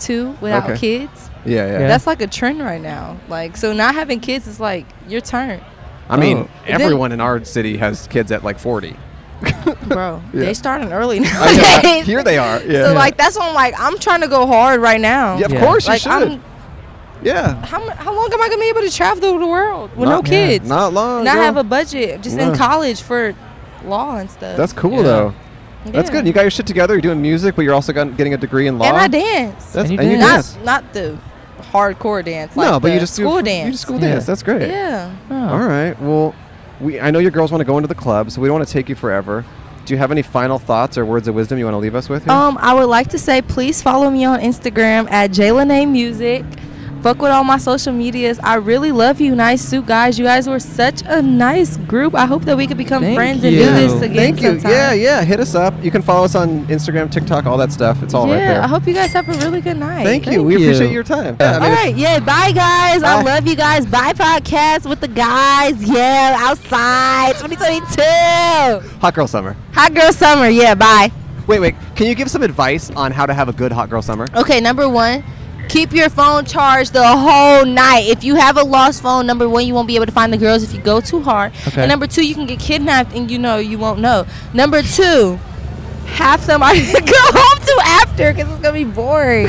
22 without
Okay.
kids.
Yeah, yeah. Yeah.
That's like a trend right now. Like, so not having kids is like your turn,
I mean,
Oh.
everyone in our city has kids at like 40.
bro.
Yeah.
They starting early
I know,
nowadays.
right? Here they are. Yeah.
So like, that's why I'm like, I'm trying to go hard right now.
Yeah, of Yeah. course you
like,
should.
I'm,
yeah.
how, mu- how long am I gonna be able to travel the world with no
Not- yeah,
kids?
not long,
Not
girl.
have a budget. Just
No.
in college for law and stuff.
That's cool though. That's
Yeah.
good. You got your shit together. You're doing music, but you're also got, getting a degree in law.
And I dance.
That's, and you dance.
Not, not the hardcore dance.
no,
like
but
the
you just do
school
f-
dance.
You just school dance. That's great.
Yeah.
All right. Well, we I know your girls want to go into the club, so we don't want to take you forever. Do you have any final thoughts or words of wisdom you want to leave us with? Here?
Um, I would like to say please follow me on Instagram at Jaylenay Music. Fuck with all my social medias. I really love you, nice suit guys. You guys were such a nice group. I hope that we could become
Thank
friends and do this again
Thank you.
sometime.
Yeah, yeah. Hit us up. You can follow us on Instagram, TikTok, all that stuff. It's all right
yeah,
there.
I hope you guys have a really good night.
Thank you. We appreciate your time. Yeah, I mean,
All
it's-
right, yeah. Bye, guys. I love you guys. Bye, podcast with the guys. Yeah, outside 2022.
Hot girl summer.
Hot girl summer. Yeah, bye.
Wait, wait. Can you give some advice on how to have a good hot girl summer?
Okay, number one, keep your phone charged the whole night. If you have a lost phone, number one, you won't be able to find the girls if you go too hard.
Okay.
And number two, you can get kidnapped and you know you won't know. Number two, have somebody to go home to after because it's gonna be boring.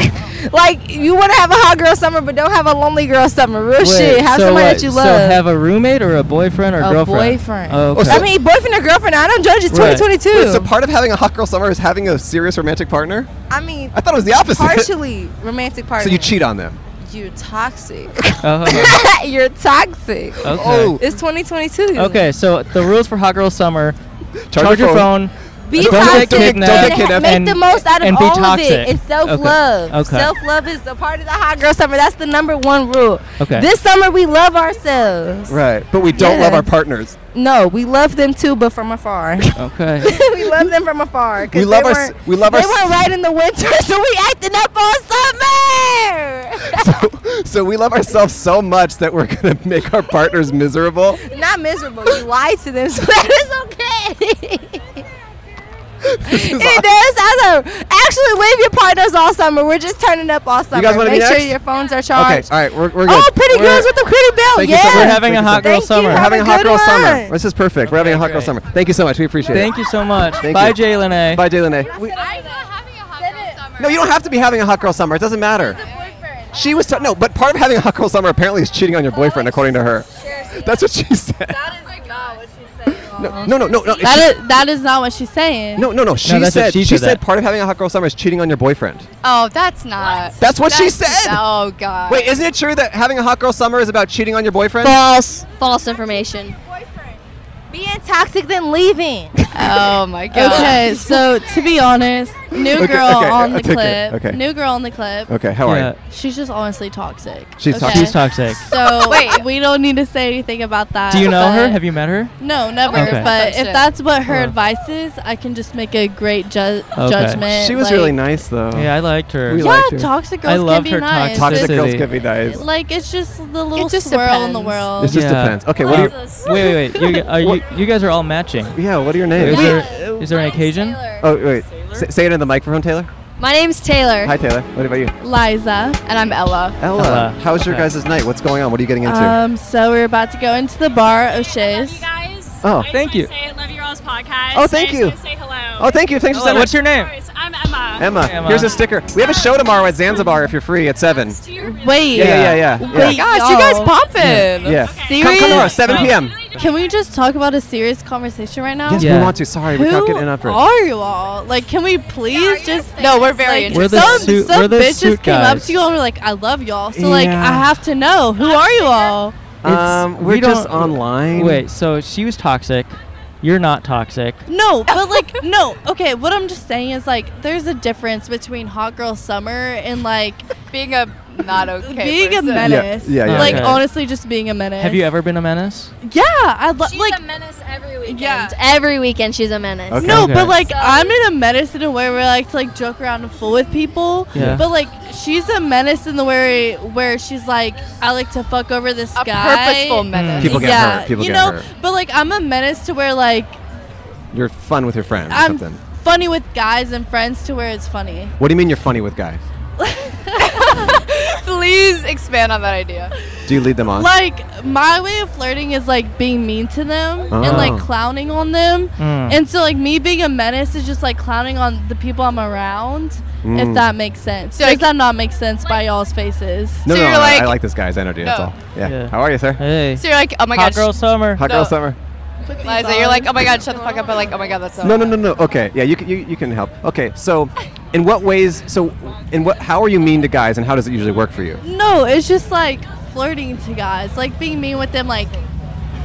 Like you want to have a hot girl summer, but don't have a lonely girl summer. Real
Wait,
shit. Have
so
somebody
what?
that you
So
love.
have a roommate or a boyfriend or
a
girlfriend?
boyfriend.
Oh, okay.
I mean, boyfriend or girlfriend. I don't judge. It's
Right.
2022.
Wait, so part of having a hot girl summer is having a serious romantic partner.
I mean,
I thought it was the opposite.
Partially romantic partner.
So you cheat on them.
You're toxic.
Oh,
You're toxic.
Okay. Oh.
It's 2022.
okay, so the rules for hot girl summer: charge,
your
your phone.
Be
don't
toxic.
get kidnapped,
Make
and-
the most out of
and be
all
toxic.
of it. It's self love.
Okay. okay.
Self love is the part of the hot girl summer. That's the number one rule.
Okay.
This summer we love ourselves.
Right, but we don't
Yeah.
love our partners.
No, we love them too, but from afar.
Okay.
we love them from afar. 'cause
We love
they
our-
weren't-
we love
They
our-
weren't right in the winter, so we acting up all summer.
So we love ourselves so much that we're gonna make our partners miserable.
Not miserable. You lied to them, so that is okay. it does sound so- Actually, leave your partners all summer. We're just turning up all summer.
guys wanna be
Make sure
next?
your phones are
Okay,
charged.
all right, we're, we're good.
Oh, pretty girls with the pretty belt.
Thank you
yeah.
so
Thank
much.
you.
We're
Have
having a hot
good
girl
one.
summer. This is perfect. We're having a hot girl summer. Thank you so much. We appreciate
Thank
it.
you so much.
Thank
Bye,
you.
Jaylen.
Bye, Jalen A. No, you don't have to be having a hot girl summer. It doesn't matter. She was t- no, but part of having a hot girl summer apparently is cheating on your boyfriend, according to her. That's what she said. No, no, no, no. no
That is, that is not what she's saying.
no, no, no. She
that's what
said.
she
She
said
said
that.
part of having a hot girl summer is cheating on your boyfriend.
Oh, that's not.
That's what she said.
Oh
Uh,
god.
Wait, isn't it true that having a hot girl summer is about cheating on your boyfriend?
False. False information.
Being toxic then leaving.
Oh my god.
Okay,
Okay, so to be honest,
new
new
Okay, girl
girl
okay, on
on
the
the
okay, okay,
clip.
clip, okay. new
New girl on the clip.
Okay, how are you?
She's just honestly toxic.
She's toxic. She's toxic.
So wait, we don't need to say anything about that.
Do you know her?
but-
Have you met her?
No, never.
Okay.
But
Oh,
if
shit.
that's what her
Oh.
advice is, I can just make a great ju-
Okay.
judgment.
She was
like-
really nice though.
Yeah, I liked her.
We
Yeah,
liked her.
toxic girls
I
can
loved
be
her
nice.
Toxic girls
toxicity.
can be nice.
Like it's just the little
just
swirl in the
depends.
world.
It just depends. Okay, what are
Jesus.
you? Wait, wait, wait. You, g- are you, you guys are all matching.
Yeah, what are your names?
Is, there, is there an occasion?
Oh wait, say, say it in the microphone, Taylor.
My name's Taylor.
Hi, Taylor. What about you?
Liza, and I'm Ella.
Ella,
Ella.
how's your
Okay. Uh,
guys' night? What's going on? What are you getting into?
Um, so we're about to go into the bar O'Shea's.
oh,
thank you.
I love your all's podcast.
Oh, thank
I just
you.
wanna Say hello.
Oh, thank you. Thanks for sending.
Hello, what's your name?
I'm Emma.
Emma.
Emma.
Here's a sticker. We have a show tomorrow at Zanzibar if you're free at seven.
Wait.
Yeah, yeah, yeah. yeah.
Wait,
Gosh, you guys
y'all.
poppin'.
Yeah.
Serious?
Come, come tomorrow, 7 p.m.
Can we just talk about a serious conversation right now?
Yes, we want to. Sorry, we can't
Who
get in up
are you all? Like, can we please just? No, we're very
We're the
Some,
suit-
some
we're the
bitches
suit
came up
guys.
to you all and were like, "I love y'all," so like, I
Yeah.
have to know who are you all?
Um, we're
we
just
don't-
online.
Wait, so she was toxic. You're not toxic.
No, but like, no. Okay, what I'm just saying is like, there's a difference between hot girl summer and like being a not okay. Being a
Yeah,
menace.
yeah, yeah,
Like
okay.
honestly, just being a menace.
Have you ever been a menace?
Yeah, I love like
menace every weekend. Every weekend she's a menace.
Okay.
No,
Okay.
but like I'm in a menace in a way where I like to like joke around and fool with people.
Yeah.
But like she's a menace in the way where she's like I like to fuck over this guy.
purposeful menace.
People get
yeah,
hurt, people
you
get
know.
hurt.
But like I'm a menace to where like
You're fun with your friends or
I'm
something.
funny with guys and friends to where it's funny.
What do you mean you're funny with guys?
Please expand on that idea.
Do you lead them on?
Like my way of flirting is like being mean to them and
Oh.
like clowning on them,
Mm.
and so like me being a menace is just like clowning on the people I'm around.
Mm.
If that makes sense,
So,
does
like-
that not make sense by y'all's faces?
no, no, no, I like this guy's energy.
Oh.
That's
No.
all. Yeah. How are you, sir?
Hey.
So you're like, oh my
Hot
gosh.
girl summer.
Hot girl summer.
Liza, you're like, oh my god, shut the fuck up. But like, oh my god, that's so.
No, no, no, no. Okay, yeah, you, c- you, you can help. Okay, so in what ways? So in what? How are you mean to guys, and how does it usually work for you?
No, it's just like flirting to guys, like being mean with them, like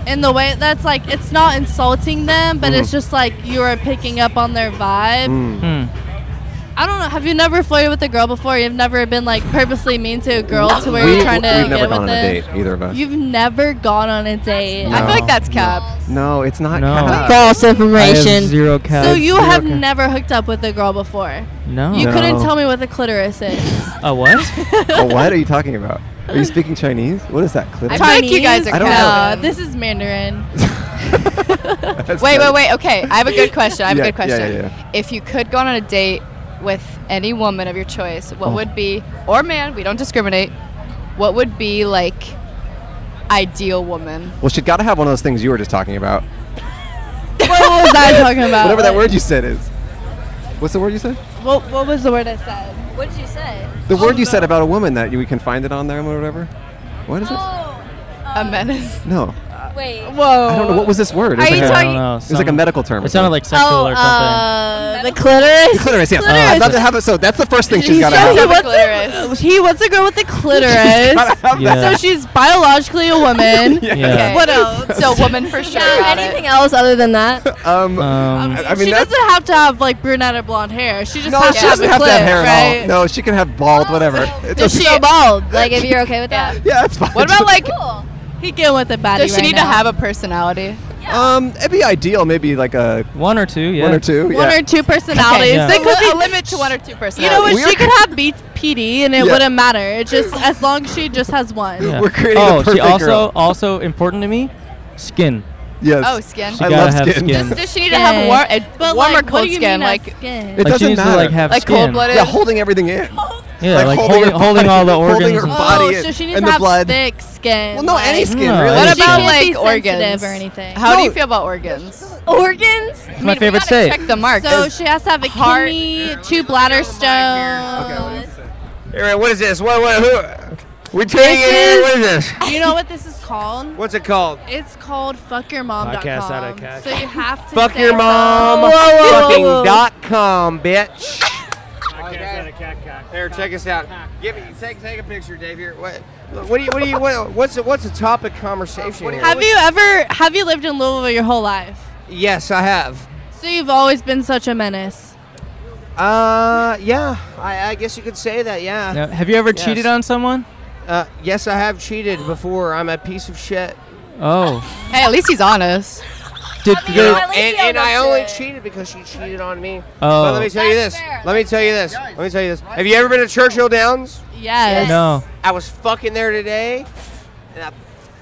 in the way that's like it's not insulting them, but it's
Mhm.
just like you are picking up on their vibe.
Hmm.
Mm.
I don't know. Have you never flirted with a girl before? You've never been like purposely mean to a girl to where
we,
you're trying to
We've
get
never
with
gone on a
them?
date, either of us.
You've never gone on a date.
I feel like No. that's
cap.
no, it's not.
No.
cap.
False information. I have zero cap.
So you
Zero
have
cap.
never hooked up with a girl before.
No.
You couldn't tell me what the clitoris is.
A what?
Well, what are you talking about? Are you speaking Chinese? What is that? Clitoris? I don't
No,
know.
Uh, this is Mandarin.
That's
Wait, wait,
good.
wait. Okay, I have a good question. I have
Yeah,
a good
yeah,
question.
yeah, yeah.
If you could go on a date with any woman of your choice, what
Oh.
would be, or man, we don't discriminate, what would be like ideal woman?
Well, she got to have one of those things you were just talking about.
what was I talking about?
Whatever that word you said is. What's the word you said?
What, what was the word I said?
What did you say?
The word you said about a woman that you, we can find it on there or whatever. What is it?
a menace.
No.
Wait.
Whoa.
I don't know. What was this word? It was
Are you
like a-
talking?
it was like a medical term. It
sounded like
Oh, uh, the clitoris.
The clitoris, yes.
Clitoris.
I'd love to have it. So that's the first thing she's
He
got to
said he
have.
wants a- He wants a girl with a clitoris.
Yeah.
So she's biologically a woman.
Yeah. Yeah.
Okay. What else? So woman for sure. about it.
anything else other than that?
Um, I, I mean,
she
that's,
doesn't have to have like brunette or blonde hair. She just
no,
has
she
to have
doesn't
a
have
clip,
to have hair
right?
at all. No, she can have
Oh,
bald, whatever.
Does
It doesn't-
she go bald? Like, if you're okay with that?
Yeah, that's fine.
What about like?
He get with the body.
Does she
right
need
now.
to have a personality?
Um, it'd be ideal, maybe like a
one or two. Yeah.
One or two.
One
yeah.
or two personalities.
Yeah.
There could be a
A
limit to one or two personalities.
You know what?
We
she
are-
could have B- PD and it
Yeah.
wouldn't matter. It's just as long as she just has one.
Yeah.
creating the
oh, she
perfect
also
girl.
also important to me, skin.
Yes.
Oh, skin.
She
I
gotta
love
have
skin.
skin.
Does she need to have warm, a
But,
warm
like,
or
what
cold
do you
skin?
mean as
Like,
skin?
It
Like, she
doesn't
needs to,
matter.
like, have
Like,
skin.
cold-blooded?
Yeah, holding everything in.
Yeah,
Like,
like,
holding
holding,
her
holding all the
body- holding
organs.
her
and-
body
Oh, so she needs
and
to
the
have
blood.
thick skin.
Well, no, any skin,
No, really.
What
she
about
can't
like
be sensitive
organs
or anything.
How do you
No.
feel about organs?
Organs?
It's my favorite state.
Check the mark.
So
Is-
she has to have a
Heart-
kidney, two bladder stones.
Hey, what is this? What? What? Who? We taking it here? What is this?
Do you know what this is called?
What's it called?
It's called
Podcast out of
fuckyourmom.com.
cash.
So you have to
Fuck
say
your mom. Fucking dot com, bitch. Here, check us out. Give me take take a picture, Dave. Here, what? What do you? What do you? What, what's the, what's the topic conversation? Here?
Have you ever have you lived in Louisville your whole life?
Yes, I have.
So you've always been such a menace.
Uh, yeah. I, I guess you could say that. Yeah.
Now, have you ever cheated on someone?
Uh, yes, I have cheated before. I'm a piece of shit.
Oh.
Hey, at least he's honest.
Did
You know, and, and I only cheated because she cheated on me.
Oh.
But let me tell you this. Let me tell you this. Let me tell you this. Have you ever been to Churchill Downs?
Yes.
No.
I was fucking there today, and I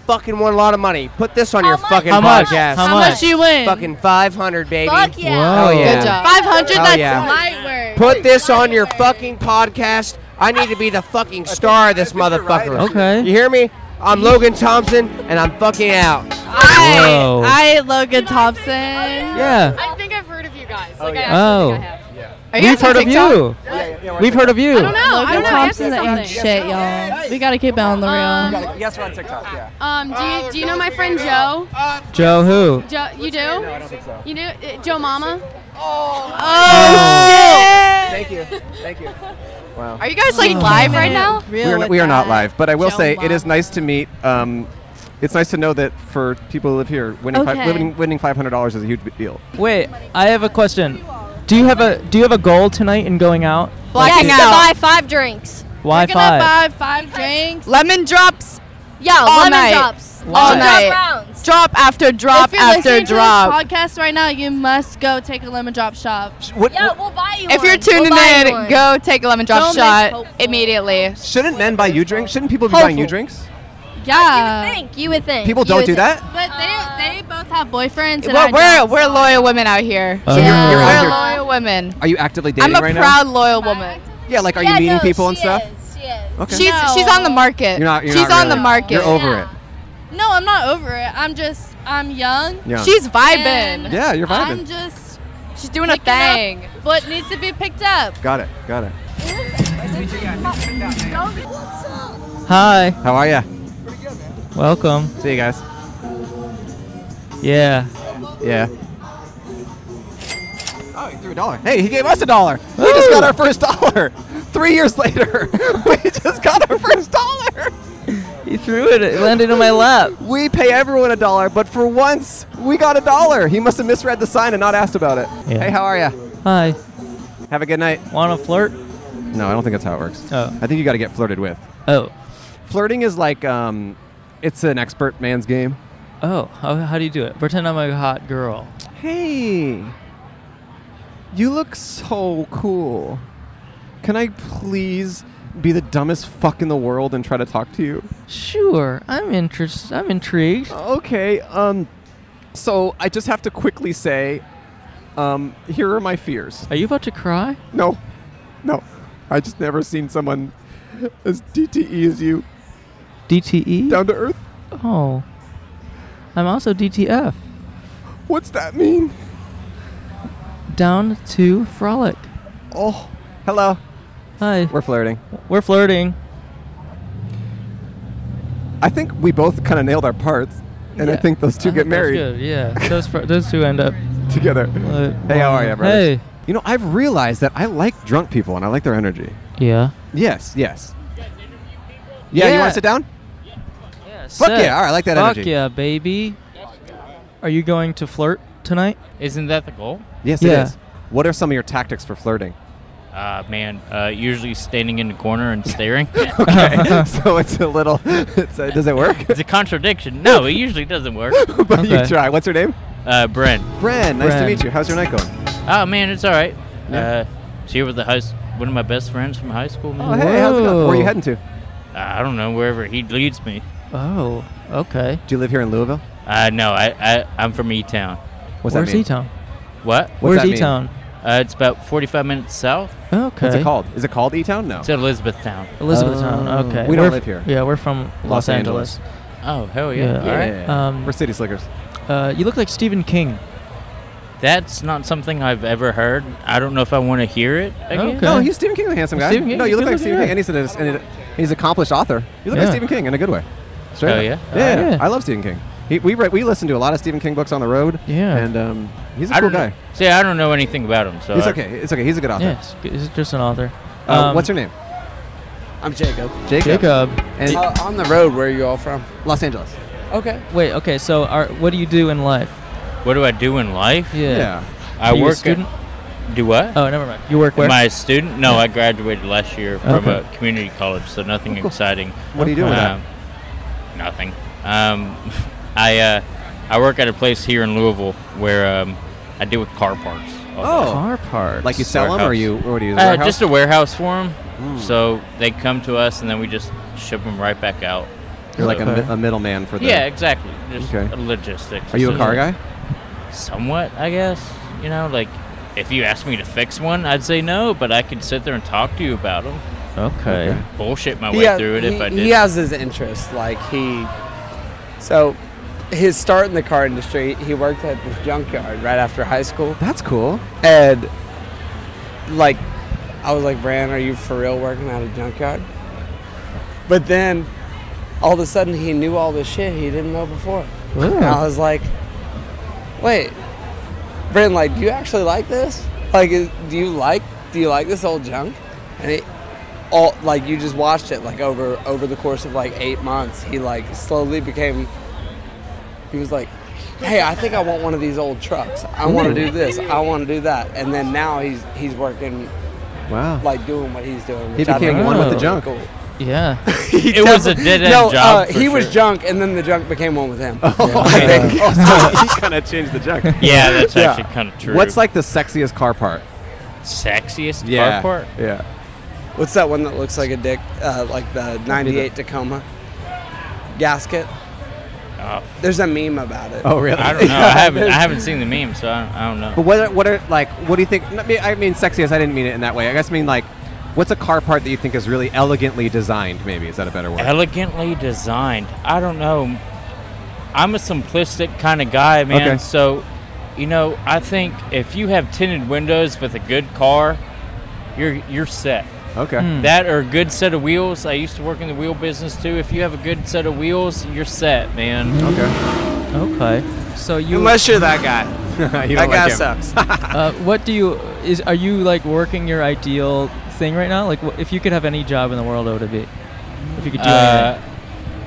fucking won a lot of money. Put this on your fucking
How much?
podcast.
How How much much?
you win?
Fucking 500, baby.
Fuck yeah.
Oh, yeah.
Good job. 500,
Oh,
that's
yeah.
light work.
Put this on your fucking podcast. I need to be the fucking star of this motherfucker.
Okay.
You hear me? I'm Logan Thompson, and I'm fucking out. Oh.
Whoa.
I Logan Thompson.
Yeah.
I think I've heard of you guys. Like,
Oh.
Are you
We've
guys on
heard of
TikTok?
you. We've heard of you.
I don't know. I don't
Logan
know.
Thompson
Answer
that ain't
something.
shit, y'all. We gotta keep it on the
Um,
real.
Yes, we're on TikTok. Yeah.
Um, do you do you know my friend Uh, Joe?
Joe who?
Joe, you do? No, I don't think so. You do? Uh, Joe Mama? Oh.
Oh.
Thank you. Thank you.
Wow.
Are you guys
Oh,
like live right now?
We are, not, we are not live, but I will say it is nice to meet. Um, it's nice to know that for people who live here, winning
Okay.
five, winning, winning five hundred dollars is a huge b- deal.
Wait, I have a question. Do you have a do you have a goal tonight in going out?
Blacking
Like,
yes, to buy five drinks.
Why We're gonna five?
five drinks.
Lemon drops.
Yeah,
all
lemon
night.
drops.
All
Lemon
night.
drop
Drop after drop
if you're
after
listening
drop.
to this podcast right now, you must go take a lemon drop shop.
What-
Yeah, we'll buy you
If you're tuning in, go take a lemon drop
Don't make
shot immediately.
Shouldn't men buy you drinks? Shouldn't people be buying you drinks?
Yeah.
You would think. You would think.
People don't do that.
But they, they both have boyfriends. And
Well,
I
we're
don't.
we're loyal women out here.
So Oh, you're- Yeah. you're out
we're
here-
loyal women.
Are you actively
I'm
dating
a
right
proud
now?
loyal woman.
Yeah, like are
Yeah,
you meeting
no,
people and
she
stuff? Okay.
She's she's on the market.
You're not. You're
she's
not
on the
really.
market.
You're over it.
No, I'm not over it. I'm just I'm young.
Yeah. She's
vibing.
and
Yeah, you're vibing.
I'm just
she's doing a thing.
What needs to be picked up?
Got it. Got it.
Hi.
How are ya?
Welcome.
See you guys.
Yeah.
Yeah. Oh, he threw a dollar. Hey, he gave us a dollar. We just got our first dollar. Three years later, we just got our first dollar.
He threw it. It landed in my lap.
We pay everyone a dollar, but for once, we got a dollar. He must have misread the sign and not asked about it.
Yeah.
Hey, how are ya?
Hi.
Have a good night.
Want to flirt?
No, I don't think that's how it works.
Oh.
I think you got to get flirted with.
Oh.
Flirting is like, um, it's an expert man's game.
Oh, how, how do you do it? Pretend I'm a hot girl.
Hey, you look so cool. Can I please be the dumbest fuck in the world and try to talk to you?
Sure. I'm interested. I'm intrigued.
Okay. Um. So I just have to quickly say, um, here are my fears.
Are you about to cry?
No, no. I just never seen someone as DTE as you.
DTE?
Down to earth.
Oh. I'm also DTF.
What's that mean?
Down to frolic.
Oh, hello.
Hi.
We're flirting.
We're flirting.
I think we both kind of nailed our parts, and I
Yeah.
think those two
I
get
think that's
married.
good, Yeah, those fr- those two end up
together. hey, how are you, brothers?
Hey.
You know, I've realized that I like drunk people and I like their energy.
Yeah.
Yes, yes. Yeah, you want
Yeah.
to sit down?
Yeah,
Fuck yeah, all right, I like that
Fuck
energy.
yeah, baby. Are you going to flirt tonight?
Isn't that the goal?
Yes,
Yeah.
it is. What are some of your tactics for flirting?
Uh, man, uh, usually standing in the corner and staring.
okay, so it's a little. It's a, does it work?
It's a contradiction. No, it usually doesn't work.
but you try. What's her name?
Uh, Brent.
Bren, nice to meet you. How's your night going?
Oh man, it's all right.
Yeah.
Uh, she was the host, one of my best friends from high school. Man. Uh,
Oh, hey, how's it going? Where are you heading to?
I don't know wherever he leads me.
Oh, okay.
Do you live here in Louisville?
Uh, no, I, I I'm from E Town.
What's that Where's mean? E-Town?
What?
Where's that mean? E-Town?
Uh, it's about 45 minutes south.
Okay. What's it
called? Is it called E Town? No.
It's Elizabethtown.
Elizabethtown.
Oh.
okay.
We don't
We're
live
f-
here.
Yeah, we're from Los,
Los
Angeles.
Angeles.
Oh hell yeah! All right.
Um,
We're city slickers.
Uh, you look like Stephen King.
That's not something I've ever heard. I don't know if I want to hear it. Again.
No, he's Stephen King, the handsome guy.
Stephen King,
no, you
he's
look like
good-looking
Stephen King,
guy.
and he's, an, and he's an accomplished author. You look
Yeah.
like Stephen King in a good way. Straight
Oh,
up.
yeah?
yeah?
Oh, yeah.
I love Stephen King. He, we re- we listen to a lot of Stephen King books on the road.
Yeah.
and um, he's a
I
cool
don't know-
guy.
See, I don't know anything about him, so
it's
I-
okay. It's okay. He's a good author.
Yeah, he's, he's just an author.
Uh,
Um,
what's your name?
I'm Jacob.
Jacob. Jacob.
And uh, on the road, where are you all from?
Los Angeles.
Okay.
Wait. Okay. So, are, what do you do in life?
What do I do in life?
Yeah. Yeah.
I
Are you a
work. at-
student?
do what?
Oh, never mind. You work where?
Am I a student? No, I graduated last year from
Okay.
a community college, so nothing
Oh, cool.
exciting.
What do you do with that?
Um, Nothing. Um, I uh, I work at a place here in Louisville where um, I deal with car parts. all day.
Oh. Car
parts.
Like you sell 'em, or
Warehouse.
you- or what do you-
Uh,
warehouse?
just a warehouse Hmm. for them.
Hmm.
Mm.
So they come to us, and then we just ship them right back out.
You're like a,
So-
mi- a middleman for the.
yeah, exactly. Just
Okay.
logistics.
Are you a car guy?
Somewhat, I guess. You know, like if you asked me to fix one, I'd say no, but I could sit there and talk to you about them.
Okay. Okay.
Bullshit my
He
way
ha-
through it if
he-
I did.
He has his interest. Like he, so his start in the car industry, he worked at this junkyard right after high school.
That's cool.
And like, I was like, Bran, are you for real working at a junkyard? But then, all of a sudden, he knew all this shit he didn't know before.
Ooh.
And I was like, wait, Bran, like, do you actually like this? Like, is, do you like do you like this old junk? And it all like you just watched it like over over the course of like eight months. He like slowly became. He was like, hey, I think I want one of these old trucks. I want
Ooh.
to do this. I want to do that. And then now he's he's working
Wow.
like doing what he's doing.
He
which I
became
think
one
is
with the
really
junk.
cool.
Yeah.
it was a dead end
no,
job.
uh,
for
he was
sure.
junk, and then the junk became one with
Oh,
him.
Oh,
he kind of changed the junk.
Yeah, that's actually kinda true.
What's like the sexiest car part?
Sexiest
Yeah.
car part?
Yeah.
What's that one that looks like a dick? Uh, like the '98 Tacoma gasket. There's a meme about it.
Oh, really?
Oh. I don't know. I haven't I haven't seen the meme, so I don't, I don't know.
But what are, what are like what do you think? I mean- I mean sexiest. I didn't mean it in that way. I guess I mean like, what's a car part that you think is really elegantly designed? Maybe is that a better word?
Elegantly designed. I don't know. I'm a simplistic kind of guy, man.
Okay.
So, you know, I think if you have tinted windows with a good car, you're you're set.
Okay. Hmm.
That or a good set of wheels. I used to work in the wheel business too. If you have a good set of wheels, you're set, man.
Okay. So you
Unless
you're that guy.
You don't That like guy him. sucks.
uh, what do you is? Are you like working your ideal thing right now? Like, wh- if you could have any job in the world, what would it be? If you could do
Uh,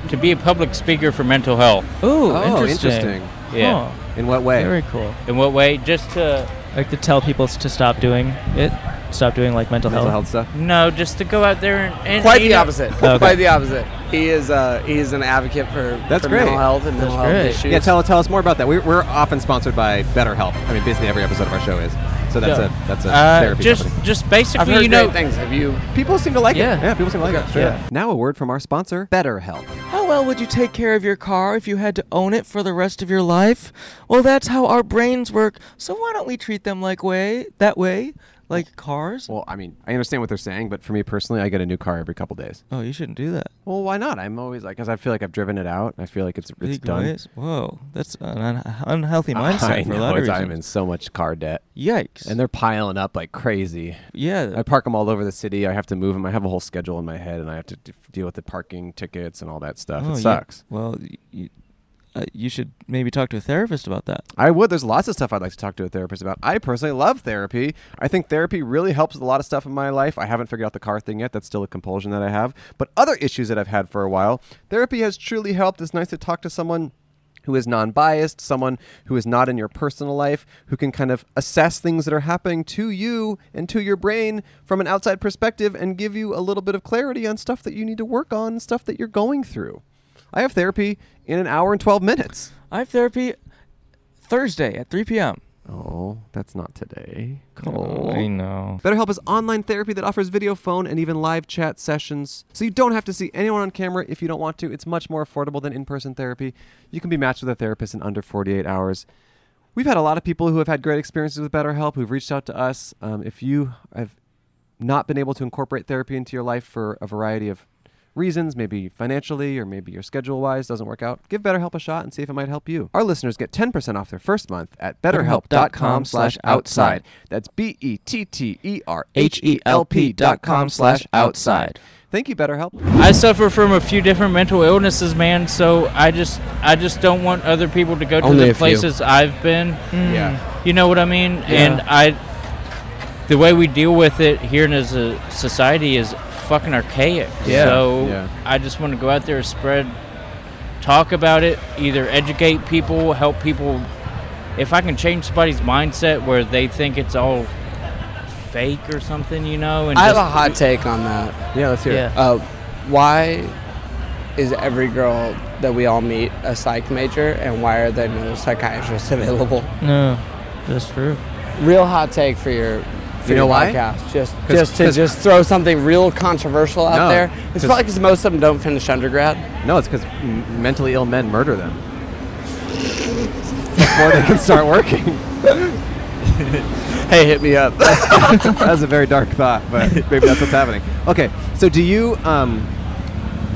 to be a public speaker for mental health.
Ooh, Oh, interesting. interesting.
Yeah.
Huh.
In what way?
Very cool.
In what way? Just to
anything, like to tell people s- to stop doing it, stop doing like mental,
Mental
health.
health stuff.
no, just to go out there and, and
Quite
you
the
know-
opposite.
Okay.
Quite the opposite. He is uh, he is an advocate for,
That's
for
great.
mental health and mental health issues.
Yeah, tell, tell us more about that. We're, we're often sponsored by BetterHelp. I mean, basically every episode of our show is. So that's
Yeah.
a that's a
Uh,
therapy
just
company.
just basically
I've heard
you know
great things.
Have you?
People seem to like it. Yeah, people seem to like it.
Okay. Yeah.
Now a word from our sponsor, BetterHelp.
How well would you take care of your car if you had to own it for the rest of your life? Well, that's how our brains work. So why don't we treat them like way that way? Like cars?
Well, I mean, I understand what they're saying, but for me personally, I get a new car every couple days.
Oh, you shouldn't do that.
Well, why not? I'm always like, because I feel like I've driven it out. and I feel like it's it's
Big
done.
ways? Whoa, that's an un- unhealthy mindset
I
for
know,
a lot of
it's- I'm
reasons.
in so much car debt.
Yikes!
And they're piling up like crazy.
Yeah.
I park them all over the city. I have to move them. I have a whole schedule in my head, and I have to d- deal with the parking tickets and all that stuff.
Oh,
it
you-
sucks.
well, y- you, uh, you should maybe talk to a therapist about that.
I would. There's lots of stuff I'd like to talk to a therapist about. I personally love therapy. I think therapy really helps with a lot of stuff in my life. I haven't figured out the car thing yet. That's still a compulsion that I have. But other issues that I've had for a while, therapy has truly helped. It's nice to talk to someone who is non biased, someone who is not in your personal life, who can kind of assess things that are happening to you and to your brain from an outside perspective and give you a little bit of clarity on stuff that you need to work on, stuff that you're going through. I have therapy in an hour and 12 minutes.
I have therapy Thursday at 3 p.m.
Oh, that's not today.
Oh, I know.
BetterHelp is online therapy that offers video, phone, and even live chat sessions. So you don't have to see anyone on camera if you don't want to. It's much more affordable than in person therapy. You can be matched with a therapist in under 48 hours. We've had a lot of people who have had great experiences with BetterHelp who've reached out to us. Um, if you have not been able to incorporate therapy into your life for a variety of reasons, maybe financially or maybe your schedule wise doesn't work out, give BetterHelp a shot and see if it might help you. Our listeners get 10% off their first month at betterhelp.com slash outside. That's B E T T E R H E L P dot com slash outside. Thank you, BetterHelp.
I suffer from a few different mental illnesses, man. So I just, I just don't want other people to go to
Only a
the
few.
places I've been. Mm,
Yeah.
You know what I mean? And I, the way we deal with it here in as a society is fucking archaic.
Yeah.
So
Yeah.
I just want to go out there, spread, talk about it, either educate people, help people. If I can change somebody's mindset where they think it's all fake or something, you know, and
I have
just-
a hot take on that.
Yeah, let's
hear it. Yeah.
Uh, why is every girl that we all meet a psych major, and why are there no psychiatrists available?
No, that's true.
Real hot take for your. For
You know
your
why?
Podcast. Just,
'Cause-
just to
'cause-
just throw something real controversial out
No,
there. It's
'cause-
probably because most of them don't finish undergrad.
No, it's because m- mentally ill men murder them before they can start working. hey, hit me up. That's- that was a very dark thought, but maybe that's what's happening. Okay, so do you? Um,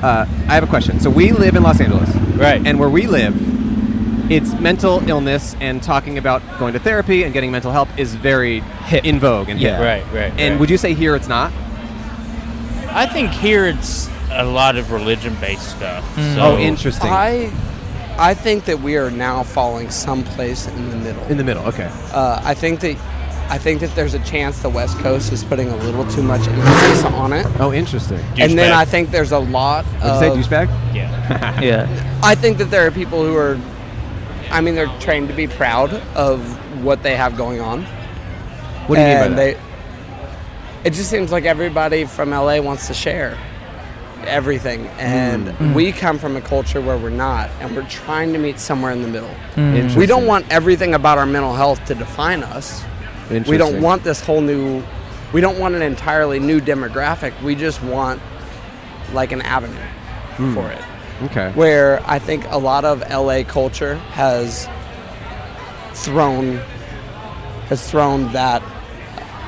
uh, I have a question. So we live in Los Angeles,
right?
And where we live, it's mental illness and talking about going to therapy and getting mental help is very hip. in vogue and hip.
Yeah, right, right,
And
right.
would you say here it's not?
I think here it's a lot of religion-based stuff. So
Oh,
I I think that we are now falling someplace in the middle.
In the middle, okay.
Uh, I think that I think that there's a chance the West Coast is putting a little too much emphasis on it.
Oh, interesting.
And then I think there's a lot
Would you
of
say douchebag?
Um, Yeah.
yeah.
I think that there are people who are I mean they're trained to be proud of what they have going on.
What do you mean by
And
that?
They, it just seems like everybody from LA wants to share everything, and
Mm.
we come from a culture where we're not, and we're trying to meet somewhere in the middle.
Mm. Interesting.
We don't want everything about our mental health to define us. We don't
Interesting.
want this whole new. We don't want an entirely new demographic. We just want like an avenue
Mm.
for it
Okay.
where I think a lot of LA culture has thrown has thrown that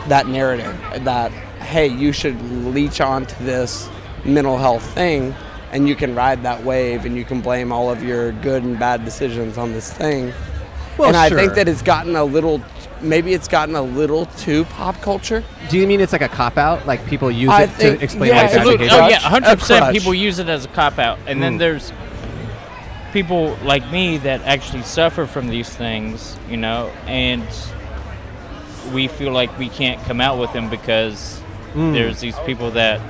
that narrative that hey you should leech onto this mental health thing and you can ride that wave and you can blame all of your good and bad decisions on this thing
Well,
and I think
sure.
that it's gotten a little maybe it's gotten a little too pop culture
Do you mean it's like a cop out? Like people use
I
it
think-
to explain
yeah,
why it's not
absolutely.
okay?
Oh
Crutch.
yeah, hundred
A
percent.
crutch.
People use it as a cop out, and then
Mm.
there's people like me that actually suffer from these things, you know, and we feel like we can't come out with them because
Mm.
there's these people that,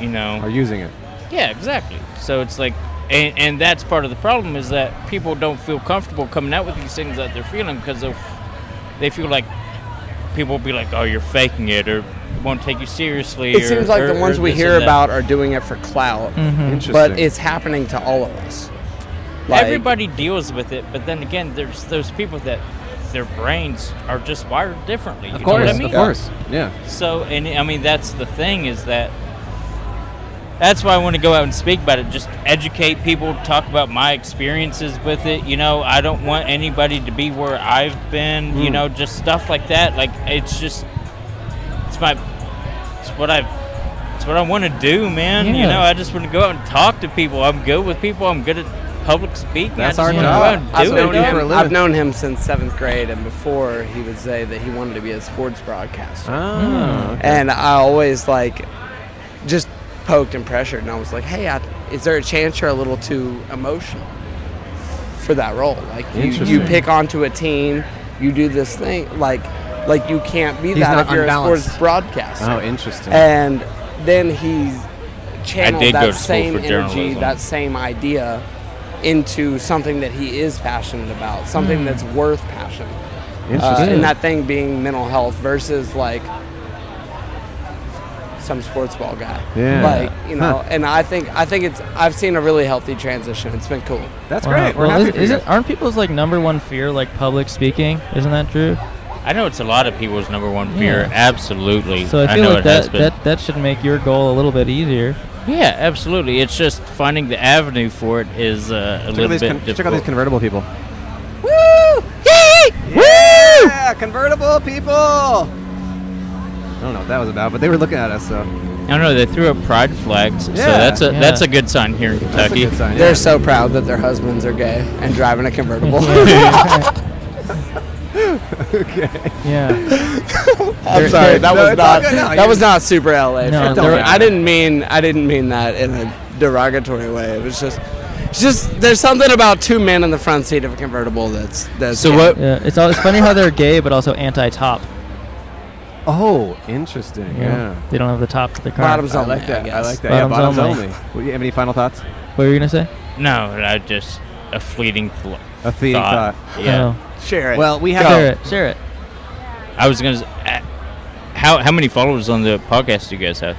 you know,
Are using it.
yeah, exactly. So it's like, and, and that's part of the problem is that people don't feel comfortable coming out with these things that they're feeling because they they feel like people will be like, oh, you're faking it or won't take you seriously.
It
or-
seems like
or-
the ones
or
we
this
hear
and that.
about are doing it for clout,
Mhm.
but
Interesting.
it's happening to all of us.
Everybody deals with it, but then again, there's those people that their brains are just wired differently.
Of
you know what
course,
I mean?
of course, yeah.
So, and I mean, that's the thing is that that's why I want to go out and speak about it. Just educate people, talk about my experiences with it. You know, I don't want anybody to be where I've been. You
Mm.
know, just stuff like that. Like it's just it's my it's what I it's what I want to do, man. You
Yeah.
know, I just want to go out and talk to people. I'm good with people. I'm good at public speaking.
That's
I
our
just wanna go out
job.
and do
I've
it,
known,
man.
him, I've known him since seventh grade, and before he would say that he wanted to be a sports broadcaster.
Ah, okay.
And I always like just poked and pressured, and I was like, "Hey, I, is there a chance you're a little too emotional for that role? Like you, you
Interesting.
pick onto a team, you do this thing, like like you can't be
He's
that
not
if you're a
unbalanced.
sports broadcaster."
Oh, interesting.
And then he channeled
did go
that
to school
same
for
energy,
journalism.
that same idea into something that he is passionate about, something
Hmm.
that's worth passion. Uh,
Interesting.
and that thing being mental health versus like some sports ball guy.
Yeah.
Like, you know,
Huh.
and I think I think it's I've seen a really healthy transition. It's been cool.
That's
Wow. Well, is, is it, aren't people's like number one fear like public speaking? Isn't that true?
I know it's a lot of people's number one fear.
Yeah.
Absolutely.
So I feel
know
like
it has
that,
been.
that that should make your goal a little bit easier.
Yeah, absolutely. It's just finding the avenue for it is uh, a
Check out
little
these
bit
con- check out
difficult.
these convertible people.
Yeah, convertible people.
I don't know what that was about, but they were looking at us, so.
I don't know. They threw up pride flags, so
Yeah.
that's a
Yeah.
that's a good sign here in Kentucky.
They're so proud that their husbands are gay and driving a convertible.
okay.
Yeah.
I'm sorry.
They're- they're-
That
no,
was
it's
not.
all good. No,
that
you-
was not super LA.
No,
No,
Don't worry.
I didn't mean. I didn't mean that in a derogatory way. It was just. It's just there's something about two men in the front seat of a convertible that's that's.
Yeah, it's all, it's funny how they're gay but also anti-top.
Oh, interesting.
you know?
Yeah.
They don't have the top to the car.
Bottoms only. I like that. I, like that. Yeah, bottoms only. Well, you have any final thoughts?
What were you gonna say?
No, I just a fleeting thought.
A fleeting thought.
Yeah.
Share it.
Well, we have
Oh. share it. Share it.
I was gonna. s- a- How how many followers on the podcast do you guys have?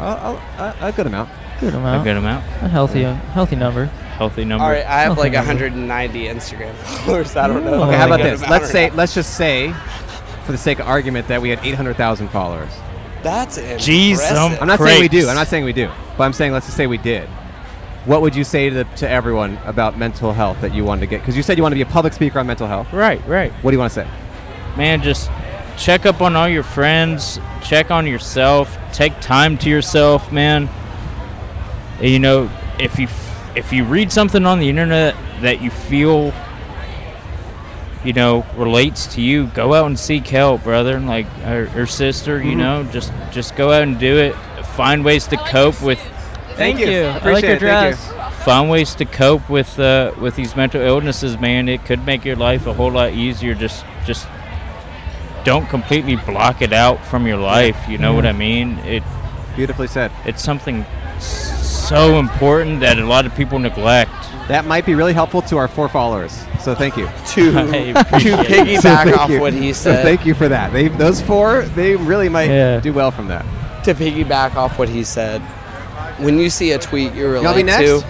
I'll, I'll, Uh, a good amount.
Good amount.
A good amount.
A healthy, uh, a healthy number.
Healthy number.
All right, I have like
Nothing.
190 Instagram followers. I don't know.
Okay, how about this?
Amount
Let's
or
say,
not.
let's just say, for the sake of argument, that we had 800,000 followers.
That's it.
I'm not saying we do. I'm not saying we do. But I'm saying let's just say we did. What would you say to the, to everyone about mental health that you wanted to get? Because you said you want to be a public speaker on mental health.
Right, right.
What do you want to say?
man, just check up on all your friends, check on yourself, take time to yourself, man. And, You know, if you f- if you read something on the internet that you feel you know relates to you, go out and seek help, brother, and like or, or sister, you
Mhm.
know, just just go out and do it. Find ways to cope with
Thank you. you. I like Appreciate your it. Thank dress.
Find ways to cope with uh, with these mental illnesses, man. It could make your life a whole lot easier. Just just don't completely block it out from your life. You know what I mean? It
beautifully said.
It's something s- so important that a lot of people neglect.
That might be really helpful to our four followers. So thank you.
To,
appreciate it.
piggyback
thank
off what he
So
said.
thank you for that. They, those four, they really might
Yeah.
do well from that.
to piggyback off what he said, when you see a tweet you relate
wanna be next?
to,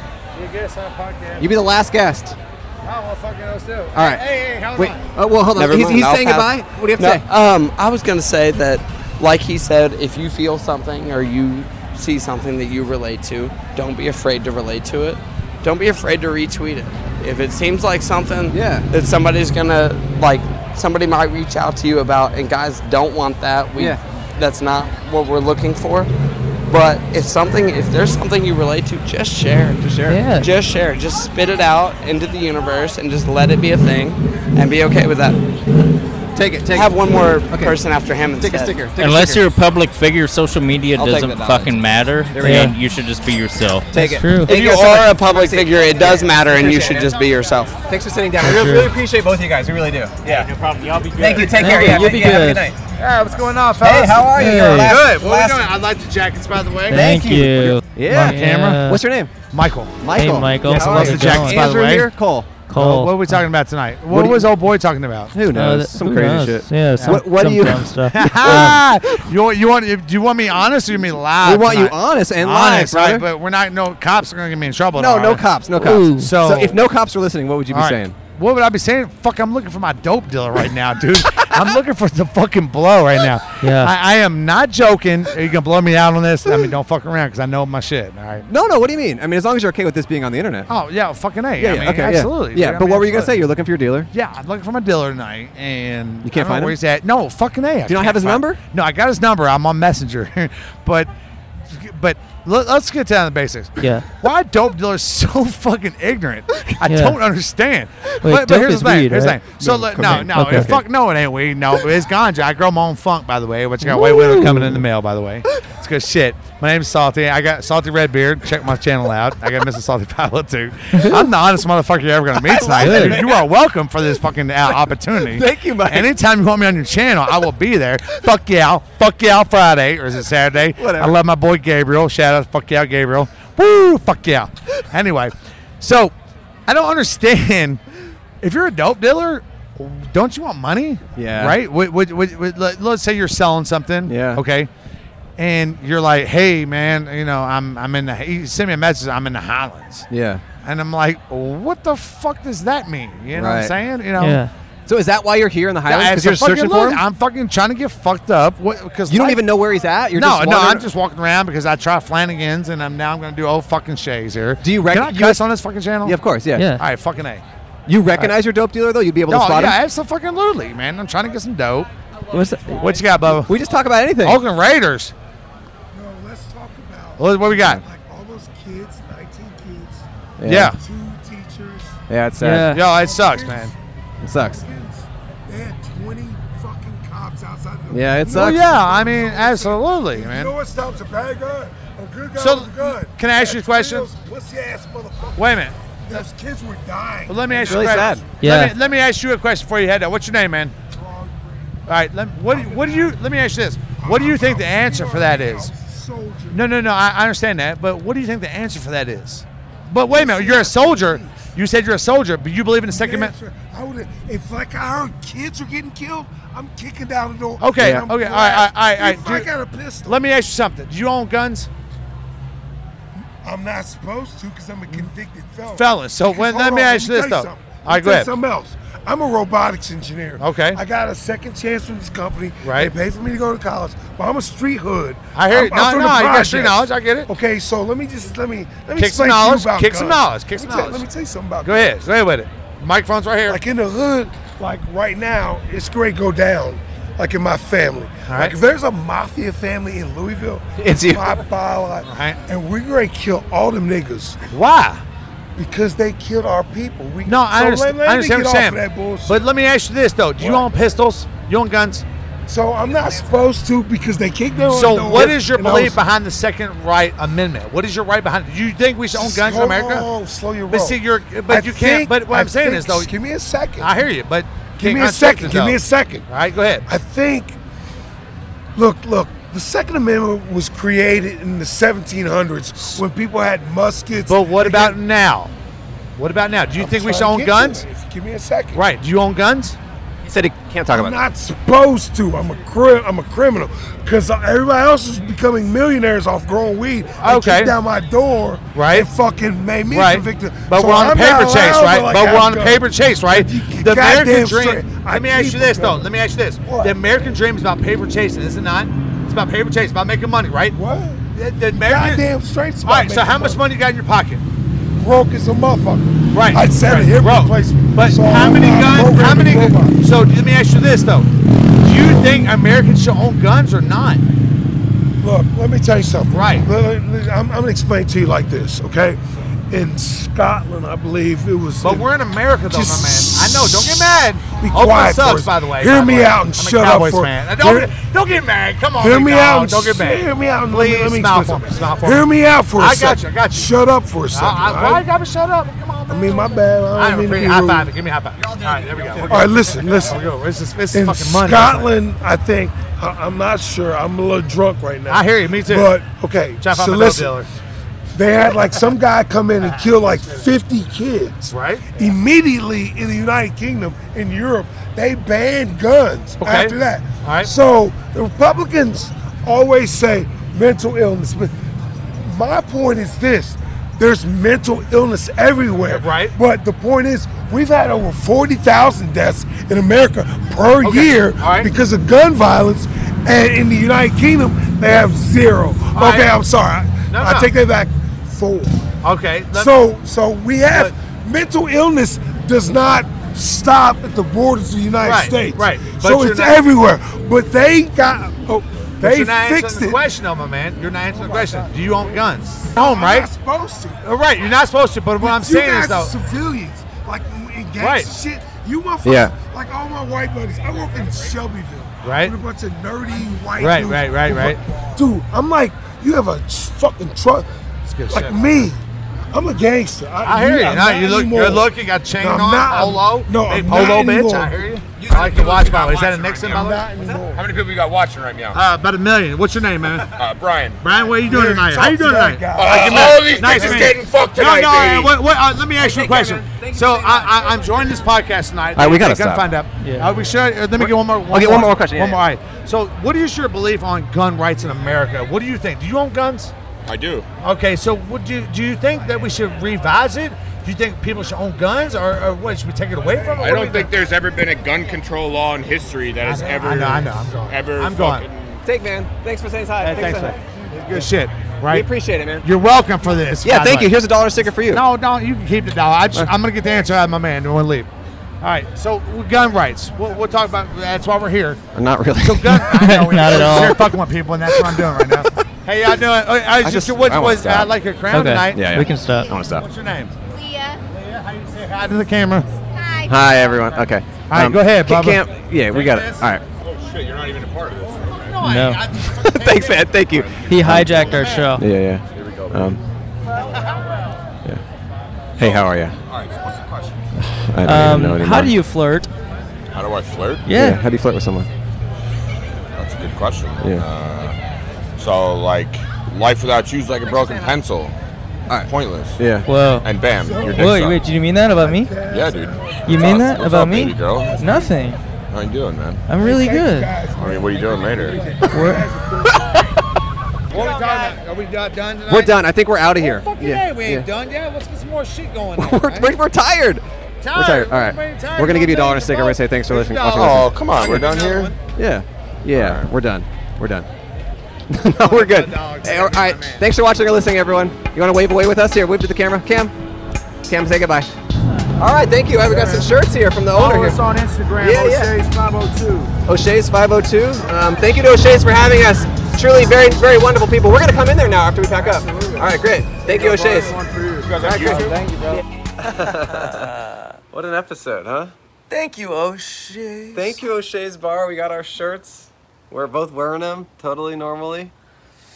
You be the last guest.
Oh, All
All right. Wait. Oh, well, hold on.
Never
he's
mind,
he's
I'll
saying
pass.
goodbye. What do you have
No,
to say?
Um, I was gonna say that, like he said, if you feel something or you see something that you relate to, don't be afraid to relate to it. Don't be afraid to retweet it. If it seems like something yeah. that somebody's gonna like, somebody might reach out to you about, and guys don't want that. We,
Yeah.
that's not what we're looking for. But if something, if there's something you relate to, just share. it. Just share.
it. Yeah.
Just share. it. Just spit it out into the universe and just let it be a thing, and be okay with that.
Take it. Take
Have
it.
one more person after him
Take
instead.
a sticker, take
Unless you're a public figure, social media
I'll take
doesn't
the knowledge.
fucking matter.
There we go.
and you should just be yourself.
Take it. True.
If you are a public figure, it does matter, and you should just be yourself.
Thanks for sitting down.
For
We really,
sure.
really appreciate both of you guys. We really do. Yeah.
No problem. Y'all be good.
Thank you.
Thank
Take care.
you.
Yeah.
You'll
thank
be
you. Have a
good.
good night.
right, what's going on,
fellas? how are you? Hey. You're last-
Good. What
last-
are we doing? I like the jackets, by the way.
Thank Thank you. you.
Yeah.
Yeah. Yeah. What's your name?
Michael.
Michael. Hey, Michael.
Yes, I
How
love
are
the
you?
jackets, by the
Andrew
way.
here? Cole.
Cole. what are we talking about tonight?
What
What,
do you-
was old boy talking about?
Who knows?
that-
some
who
crazy
knows?
shit.
Yeah, some-
what what
some
do you?
dumb stuff. Ah, you want you want do you want me honest or you want me loud?
We want you
tonight?
honest and live,
Honest, right?
brother.
But we're not. No cops are gonna get me in trouble.
No,
tonight.
no cops, no cops. So, if no cops were listening, what would you be
All right.
saying?
what would I be saying? Fuck, I'm looking for my dope dealer right now, dude. I'm looking for the fucking blow right now.
Yeah.
I, I am not joking. Are you gonna blow me out on this? I mean, don't fuck around because I know my shit. All right.
No, no. What do you mean? I mean, as long as you're okay with this being on the internet.
Oh yeah, fucking a.
yeah.
I mean,
okay. yeah.
absolutely.
Yeah.
dude. I
but
mean,
what were you gonna say?
absolutely.
You're looking for your dealer.
Yeah, I'm looking for my dealer tonight, and
You
I don't know
can't find
where
him?
he's at. No, fucking a. I
Do you not
can't
have his
find-
number?
No, I got his number. I'm on Messenger, but but let, us get down to the basics.
Yeah.
Why are dope dealers so fucking ignorant? I
Yeah.
don't understand.
Wait,
but, but
dope
here's
is
the thing.
weed,
here's
right?
the thing. So
No,
let-
come
no,
on.
no,
Okay,
it's
okay.
fuck no, it ain't weed. No, it's ganja. I grow my own funk, by the way, which I got way with coming in the mail, by the way. It's good shit. My name's Salty. I got Salty Red Beard. Check my channel out. I got Mrs. Salty Palette too. I'm the honest motherfucker you're ever gonna meet tonight.
it.
dude. You are welcome for this fucking uh, opportunity.
Thank you, Mike.
Anytime you want me on your channel, I will be there. fuck y'all. Fuck y'all Friday or is it Saturday?
Whatever.
I love my boy Gabriel. Shout out, to fuck y'all Gabriel. Woo, fuck y'all. anyway, so I don't understand. If you're a dope dealer, don't you want money?
Yeah.
Right? Would, would, would, would- let, let's say you're selling something. Yeah. Okay. And you're like, hey, man, you know, I'm, I'm in the, he sent me a message, I'm in the Highlands.
Yeah.
And I'm like, what the fuck does that mean? You know what I'm
Right.
saying? You know?
So is that why you're here in the Highlands?
Yeah, it's
Because
a fucking
you're searching for
load.
him.
I'm fucking trying to get fucked up. What? Because
You don't even know where he's at. You're
no,
just
no.
wandering-
I'm just walking around because I try Flanagan's, and I'm now I'm going to do old fucking shays here. Do
you rec-
Can I
you-
cuss on this fucking channel?
Yeah, of course, yeah. Yeah.
All right, fucking a.
You recognize your dope dealer though. You'd be able
no,
to spot
yeah,
him.
absolutely fucking literally, man. I'm trying to get some dope.
What's
What you got, Bubba?
We just talk about anything.
Oakland Raiders.
No, let's talk about
What, what we got?
like all those kids, 19 kids.
Yeah.
Two teachers.
Yeah, it's sad.
Yeah. Yo, it sucks, man.
It sucks.
They had 20 fucking cops outside. The
Yeah, it
No,
Well,
sucks.
yeah, I mean, absolutely,
You
man.
know what stops a bad guy? A good guy
So,
with a gun.
can I ask you a question?
Pussy ass motherfuckers.
Wait a minute.
Those kids were dying.
Well, let me ask
Really
you a question.
sad.
Let
Yeah.
me- Let me, ask you a question before you head out. What's your name, man? All right. Let, what do you- What do you? Let me ask you this. What do you think the answer for that is? No, no, no. I, I understand that, but what do you think the answer for that is? But wait a minute. You're a soldier. You said you're a soldier, but you believe in the Second Amendment.
I would if like our kids are getting killed, I'm kicking down the door.
Okay.
And I'm
Okay. All right. All right.
black.
All right. all right.
If
Do
I
you-
got a pistol,
Let me ask you something. Do you own guns?
I'm not supposed to because I'm a convicted felon.
Felon. So
Because-
when-
hold
let
on,
me ask you this,
tell
though.
something.
All right,
Let me
go
tell you
ahead.
Something else. I'm a robotics engineer.
Okay.
I got a second chance from this company.
Right.
They paid for me to go to college, but I'm a street hood.
I hear you.
I'm, I'm
No,
from
no,
the
you got street
projects.
knowledge. I get it.
Okay, so let me just let me let me
Kick some
explain to you
knowledge.
about
Kick some
guns.
knowledge. Kick
Let
some
me tell-
knowledge.
Let me tell you something about
Go ahead. Go ahead with it. Microphone's right here.
Like in the hood, like right now, it's great go down. Like in my family.
All right.
Like if there's a mafia family in Louisville,
It's you.
my byline.
Right.
And we're gonna kill all them niggas.
Why?
Because they killed our people. We,
No, I
so
understand.
Let, let
I
me
understand
get
what
off
you're
of that
saying.
bullshit.
But let me ask you this though: Do you own pistols? You own guns?
So I'm not supposed to because they kicked their own
So
door,
what is your
and I
belief
was-
behind the Second Right Amendment? What is your right behind? Do you think we should own guns in
Slow
America?
roll, slow your
But
roll.
see, you're but
I
you can't.
think-
But what
I
am saying is
think-
though,
give me a second.
I hear you, but
Give
can't
me a
contradict
second. Give
yourself.
me a second.
All right, go ahead.
I think. Look, look. The Second Amendment was created in the 1700s when people had muskets.
But what about now? What about now? Do you think we should own guns?
Give me a second.
Right? Do you own guns?
He said he can't talk
I'm not supposed to. I'm a cri- I'm a criminal because everybody else is becoming millionaires off growing weed. They
Okay.
kicked down my door.
Right.
And fucking made me
Right.
a convicted.
But
So
we're on a
I'm
paper
not
chase,
allowed
right?
to, like,
But we're
have
on a
guns.
paper chase, right? The
goddamn
American
straight.
dream.
I
Let me ask
keep
you
a
this though.
gun.
Let me ask you this. The American dream is about paper chasing, is it not? It's about paper chasing, about making money, right?
What?
The, the American
Goddamn straight.
All right. So how much money you got in your pocket?
Broke as a motherfucker.
Right.
I said
right,
it. Here,
bro.
place.
But
So uh,
how
I'm
many
not
guns? How
programmed
many?
to go by.
So let me ask you this though: Do you think Americans should own guns or not?
Look, let me tell you something.
Right.
I'm, I'm gonna explain to you like this, okay? In Scotland, I believe it was.
But we're in America, though, my man. I know. Don't get mad.
Be
Oakland
quiet for
sucks,
us.
by the way.
Hear
by the
me
way.
out and
I'm a
shut up
Cowboys
for-
Fan. Now,
Hear-
Don't, don't get mad. Come on.
Hear me
big
out
dog.
and
Don't get
sh-
mad.
hear me out and let me-
Please,
let me
smile for
explain
me. Smile for
Hear me out for a
I got
second.
you. I got you.
Shut up for a second,
I, I,
all
why
right?
you gotta shut up? Come on.
I mean, my bad. I
I
don't mean to be
appreciate High
rude.
five. it. Give me a high five. All right, there we go.
All right, listen, listen.
There we go. It's just, it's
in
fucking money.
Scotland, I think I, I'm not sure. I'm a little drunk right now.
I hear you. Me too.
But okay,
Jeff,
so
I'm a dope
listen.
dealer.
They had like some guy come in and kill like 50 kids.
Right.
Immediately in the United Kingdom, in Europe, they banned guns
Okay.
after that.
All right.
So the Republicans always say mental illness, but my point is this There's mental illness everywhere. Right. But the point is, we've had over 40,000 deaths in America per year because of gun violence. And in the United Kingdom, they have zero.
right.
okay, I'm sorry.
No,
I
no.
take that back. Four.
Okay. let-
So, so we have mental illness does not stop at the borders of the United
Right,
States.
right. But
So
you're
it's
not-
everywhere. But they got, oh,
But
they
you're not
fixed
answering
it.
the question, though, my man. You're not answering
Oh
the question. Do you own guns? Home, right?
not supposed to.
Oh, right, you're not supposed to. But what I'm
you
saying
guys
is,
are
though,
civilians, like in gangs
Right.
and shit. You motherfuckers,
Yeah.
like all my white buddies. I work in Shelbyville,
Right.
With a bunch of nerdy white
Right,
dudes.
right, right, right.
Dude, I'm like, you have a fucking truck,
good
like
shit.
me. I'm a gangster.
I hear you.
I'm
No,
not
you look
anymore.
good looking. Got chain
Uh, No, I'm
on.
not- I'm-
polo.
no,
Hey,
I'm
polo
not
bitch.
anymore.
I hear you. I like the watch bottle. Is that a Nixon bottle?
How many people you got watching right now?
Uh, about a million. What's your name, man?
Uh, Brian.
Brian, what are you doing
Yeah,
tonight?
talk
How you
to
doing
that
tonight?
guy. Uh, all these niggas
man.
getting fucked tonight,
No, no.
baby.
What, what, uh, let me ask you a question. So I, I, I'm joining this podcast tonight.
All right, we gotta
I gotta
stop.
find out.
Yeah.
Uh, we should. uh, let me get one more.
Okay, one more question, yeah,
One more. All right. So, what is your belief on gun rights in America? What do you think? Do you own guns?
I do.
Okay. So, what do you, do you think that we should revise it? Do you think people should own guns, or, or what? Should we take it away from them?
I
What do you
don't think there's ever been a gun control law in history that has
know,
ever
I know, I know, I'm going.
ever
I'm going.
fucking-
Take man. Thanks for saying hi.
Hey, thanks, man. Good shit. Right.
We appreciate it, man.
You're welcome for this.
Yeah,
by the
thank
way.
you. Here's a dollar sticker for you.
No, no, you can keep it. No, I just, I'm gonna get the answer out of my man. and we'll leave. All right. So gun rights. We'll, we'll talk about. That's why we're here.
Not really.
So gun. I know, we-
Not at all.
We're fucking with people, and that's what I'm doing right now. Hey, y'all doing? Oh, I was
I
just,
just-
what
I wanna
was I
stop.
like your crown
Okay.
tonight?
Yeah, yeah. We can stop. I wanna stop.
What's your name? Leah. Leah, how you say hi to the camera?
Hi, everyone. Okay. All
Um,
right, go ahead, Bubba.
yeah, we got it. All right.
Oh shit, you're not even a part of this.
No.
Thanks, man. Thank you.
He hijacked our show.
Yeah, yeah.
Here we go.
Um, yeah. Hey, how are you?
All right. So what's the question?
I don't
Um,
even know anymore.
how do you flirt?
How do I flirt?
How do you flirt with someone?
That's a good question.
Yeah.
Uh, so like, life without you's like a broken pencil. Pointless.
Yeah.
Whoa.
And bam, your dick's
Wait,
up.
wait, did you mean that about me?
Yeah, dude.
You
What's
mean
up?
that
What's
about
up,
me?
Baby girl.
Nothing.
How you doing, man?
I'm really good.
I mean, what are you doing later?
What are we talking about? Are we not done tonight?
We're done. I think we're outta here.
Fucking
Yeah,
A, we ain't
yeah.
done yet. Let's get some more shit going. on,
we're,
right?
we're, we're tired. We're
Tired.
tired. All right.
We're tired.
We're going to give you a dollar and a
Don't
sticker. We're going to say thanks for listening. watching
Oh,
listening.
come on, we're done here?
Yeah. Yeah, we're done. We're done. no, we're good. Hey, all right. Thanks for watching or listening, everyone. You want to wave away with us here? Wave to the camera. Cam. Cam, say goodbye. All right. Thank you. We got some shirts here from the owner
Follow
here.
us on Instagram,
Oh,
Yeah, yeah.
O'Shea's 502.
O'Shea's 502. Um, thank you to O'Shea's for having us. Truly very, very wonderful people. We're going to come in there now after we pack up. All right, great. Thank you, O'Shea's.
Thank
you,
what an episode, huh?
Thank you, O'Shea.
Thank you, O'Shea's Bar. We got our shirts. We're both wearing them totally normally.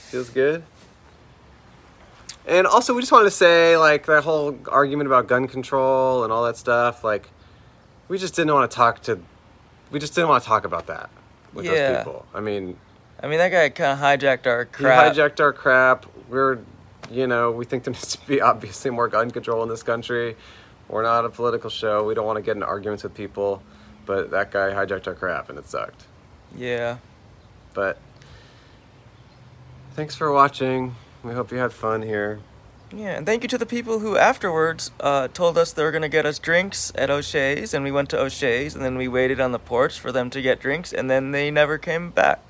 Feels good. And also, we just wanted to say, like, that whole argument about gun control and all that stuff, like, we just didn't want to talk to, we just didn't want to talk about that with
Yeah.
those people. I mean,
I mean, that guy kind of hijacked our
he
crap.
hijacked our crap. We're, you know, we think there needs to be obviously more gun control in this country. We're not a political show. We don't want to get in arguments with people. But that guy hijacked our crap, and it sucked.
yeah.
But thanks for watching. We hope you had fun here.
Yeah, and thank you to the people who afterwards uh, told us they were going to get us drinks at O'Shea's, and we went to O'Shea's, and then we waited on the porch for them to get drinks, and then they never came back.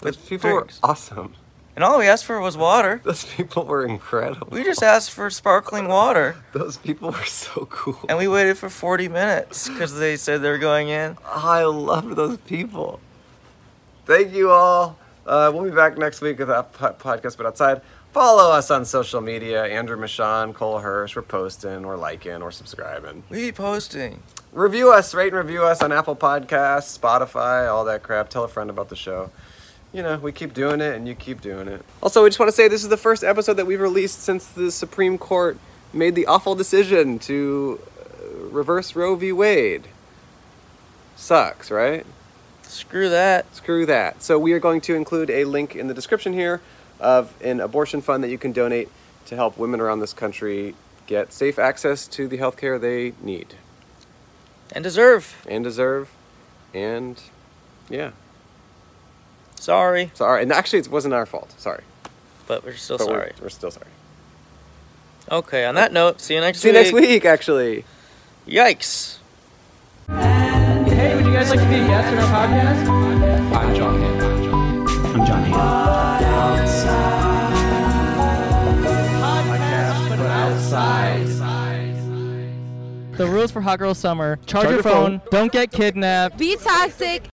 Those people were awesome.
And all we asked for was water.
Those people were incredible.
We just asked for sparkling water.
Those people were so cool.
And we waited for 40 minutes because they said they were going in.
I love those people. Thank you all. Uh, we'll be back next week with a po- podcast, but outside. Follow us on social media. Andrew Michon, Cole Hirsch. We're posting, we're liking, we're subscribing.
We be posting.
Review us, rate and review us on Apple Podcasts, Spotify, all that crap. Tell a friend about the show. You know, we keep doing it and you keep doing it. Also, we just want to say this is the first episode that we've released since the Supreme Court made the awful decision to uh, reverse Roe v. Wade. Sucks, right?
Screw that.
Screw that. So, we are going to include a link in the description here of an abortion fund that you can donate to help women around this country get safe access to the health care they need
And deserve.
and deserve and yeah
sorry
sorry and actually it wasn't our fault sorry
but we're still
we're-
sorry.
we're, still sorry
Okay, on that note, see you next
See you next
week.
week, actually.
Yikes.
Hey, would you guys like to be a guest on our podcast?
I'm John Hinn. I'm John Hinn.
Podcast, but outside.
The rules for Hot Girl Summer: charge, your phone, don't get kidnapped.
Be toxic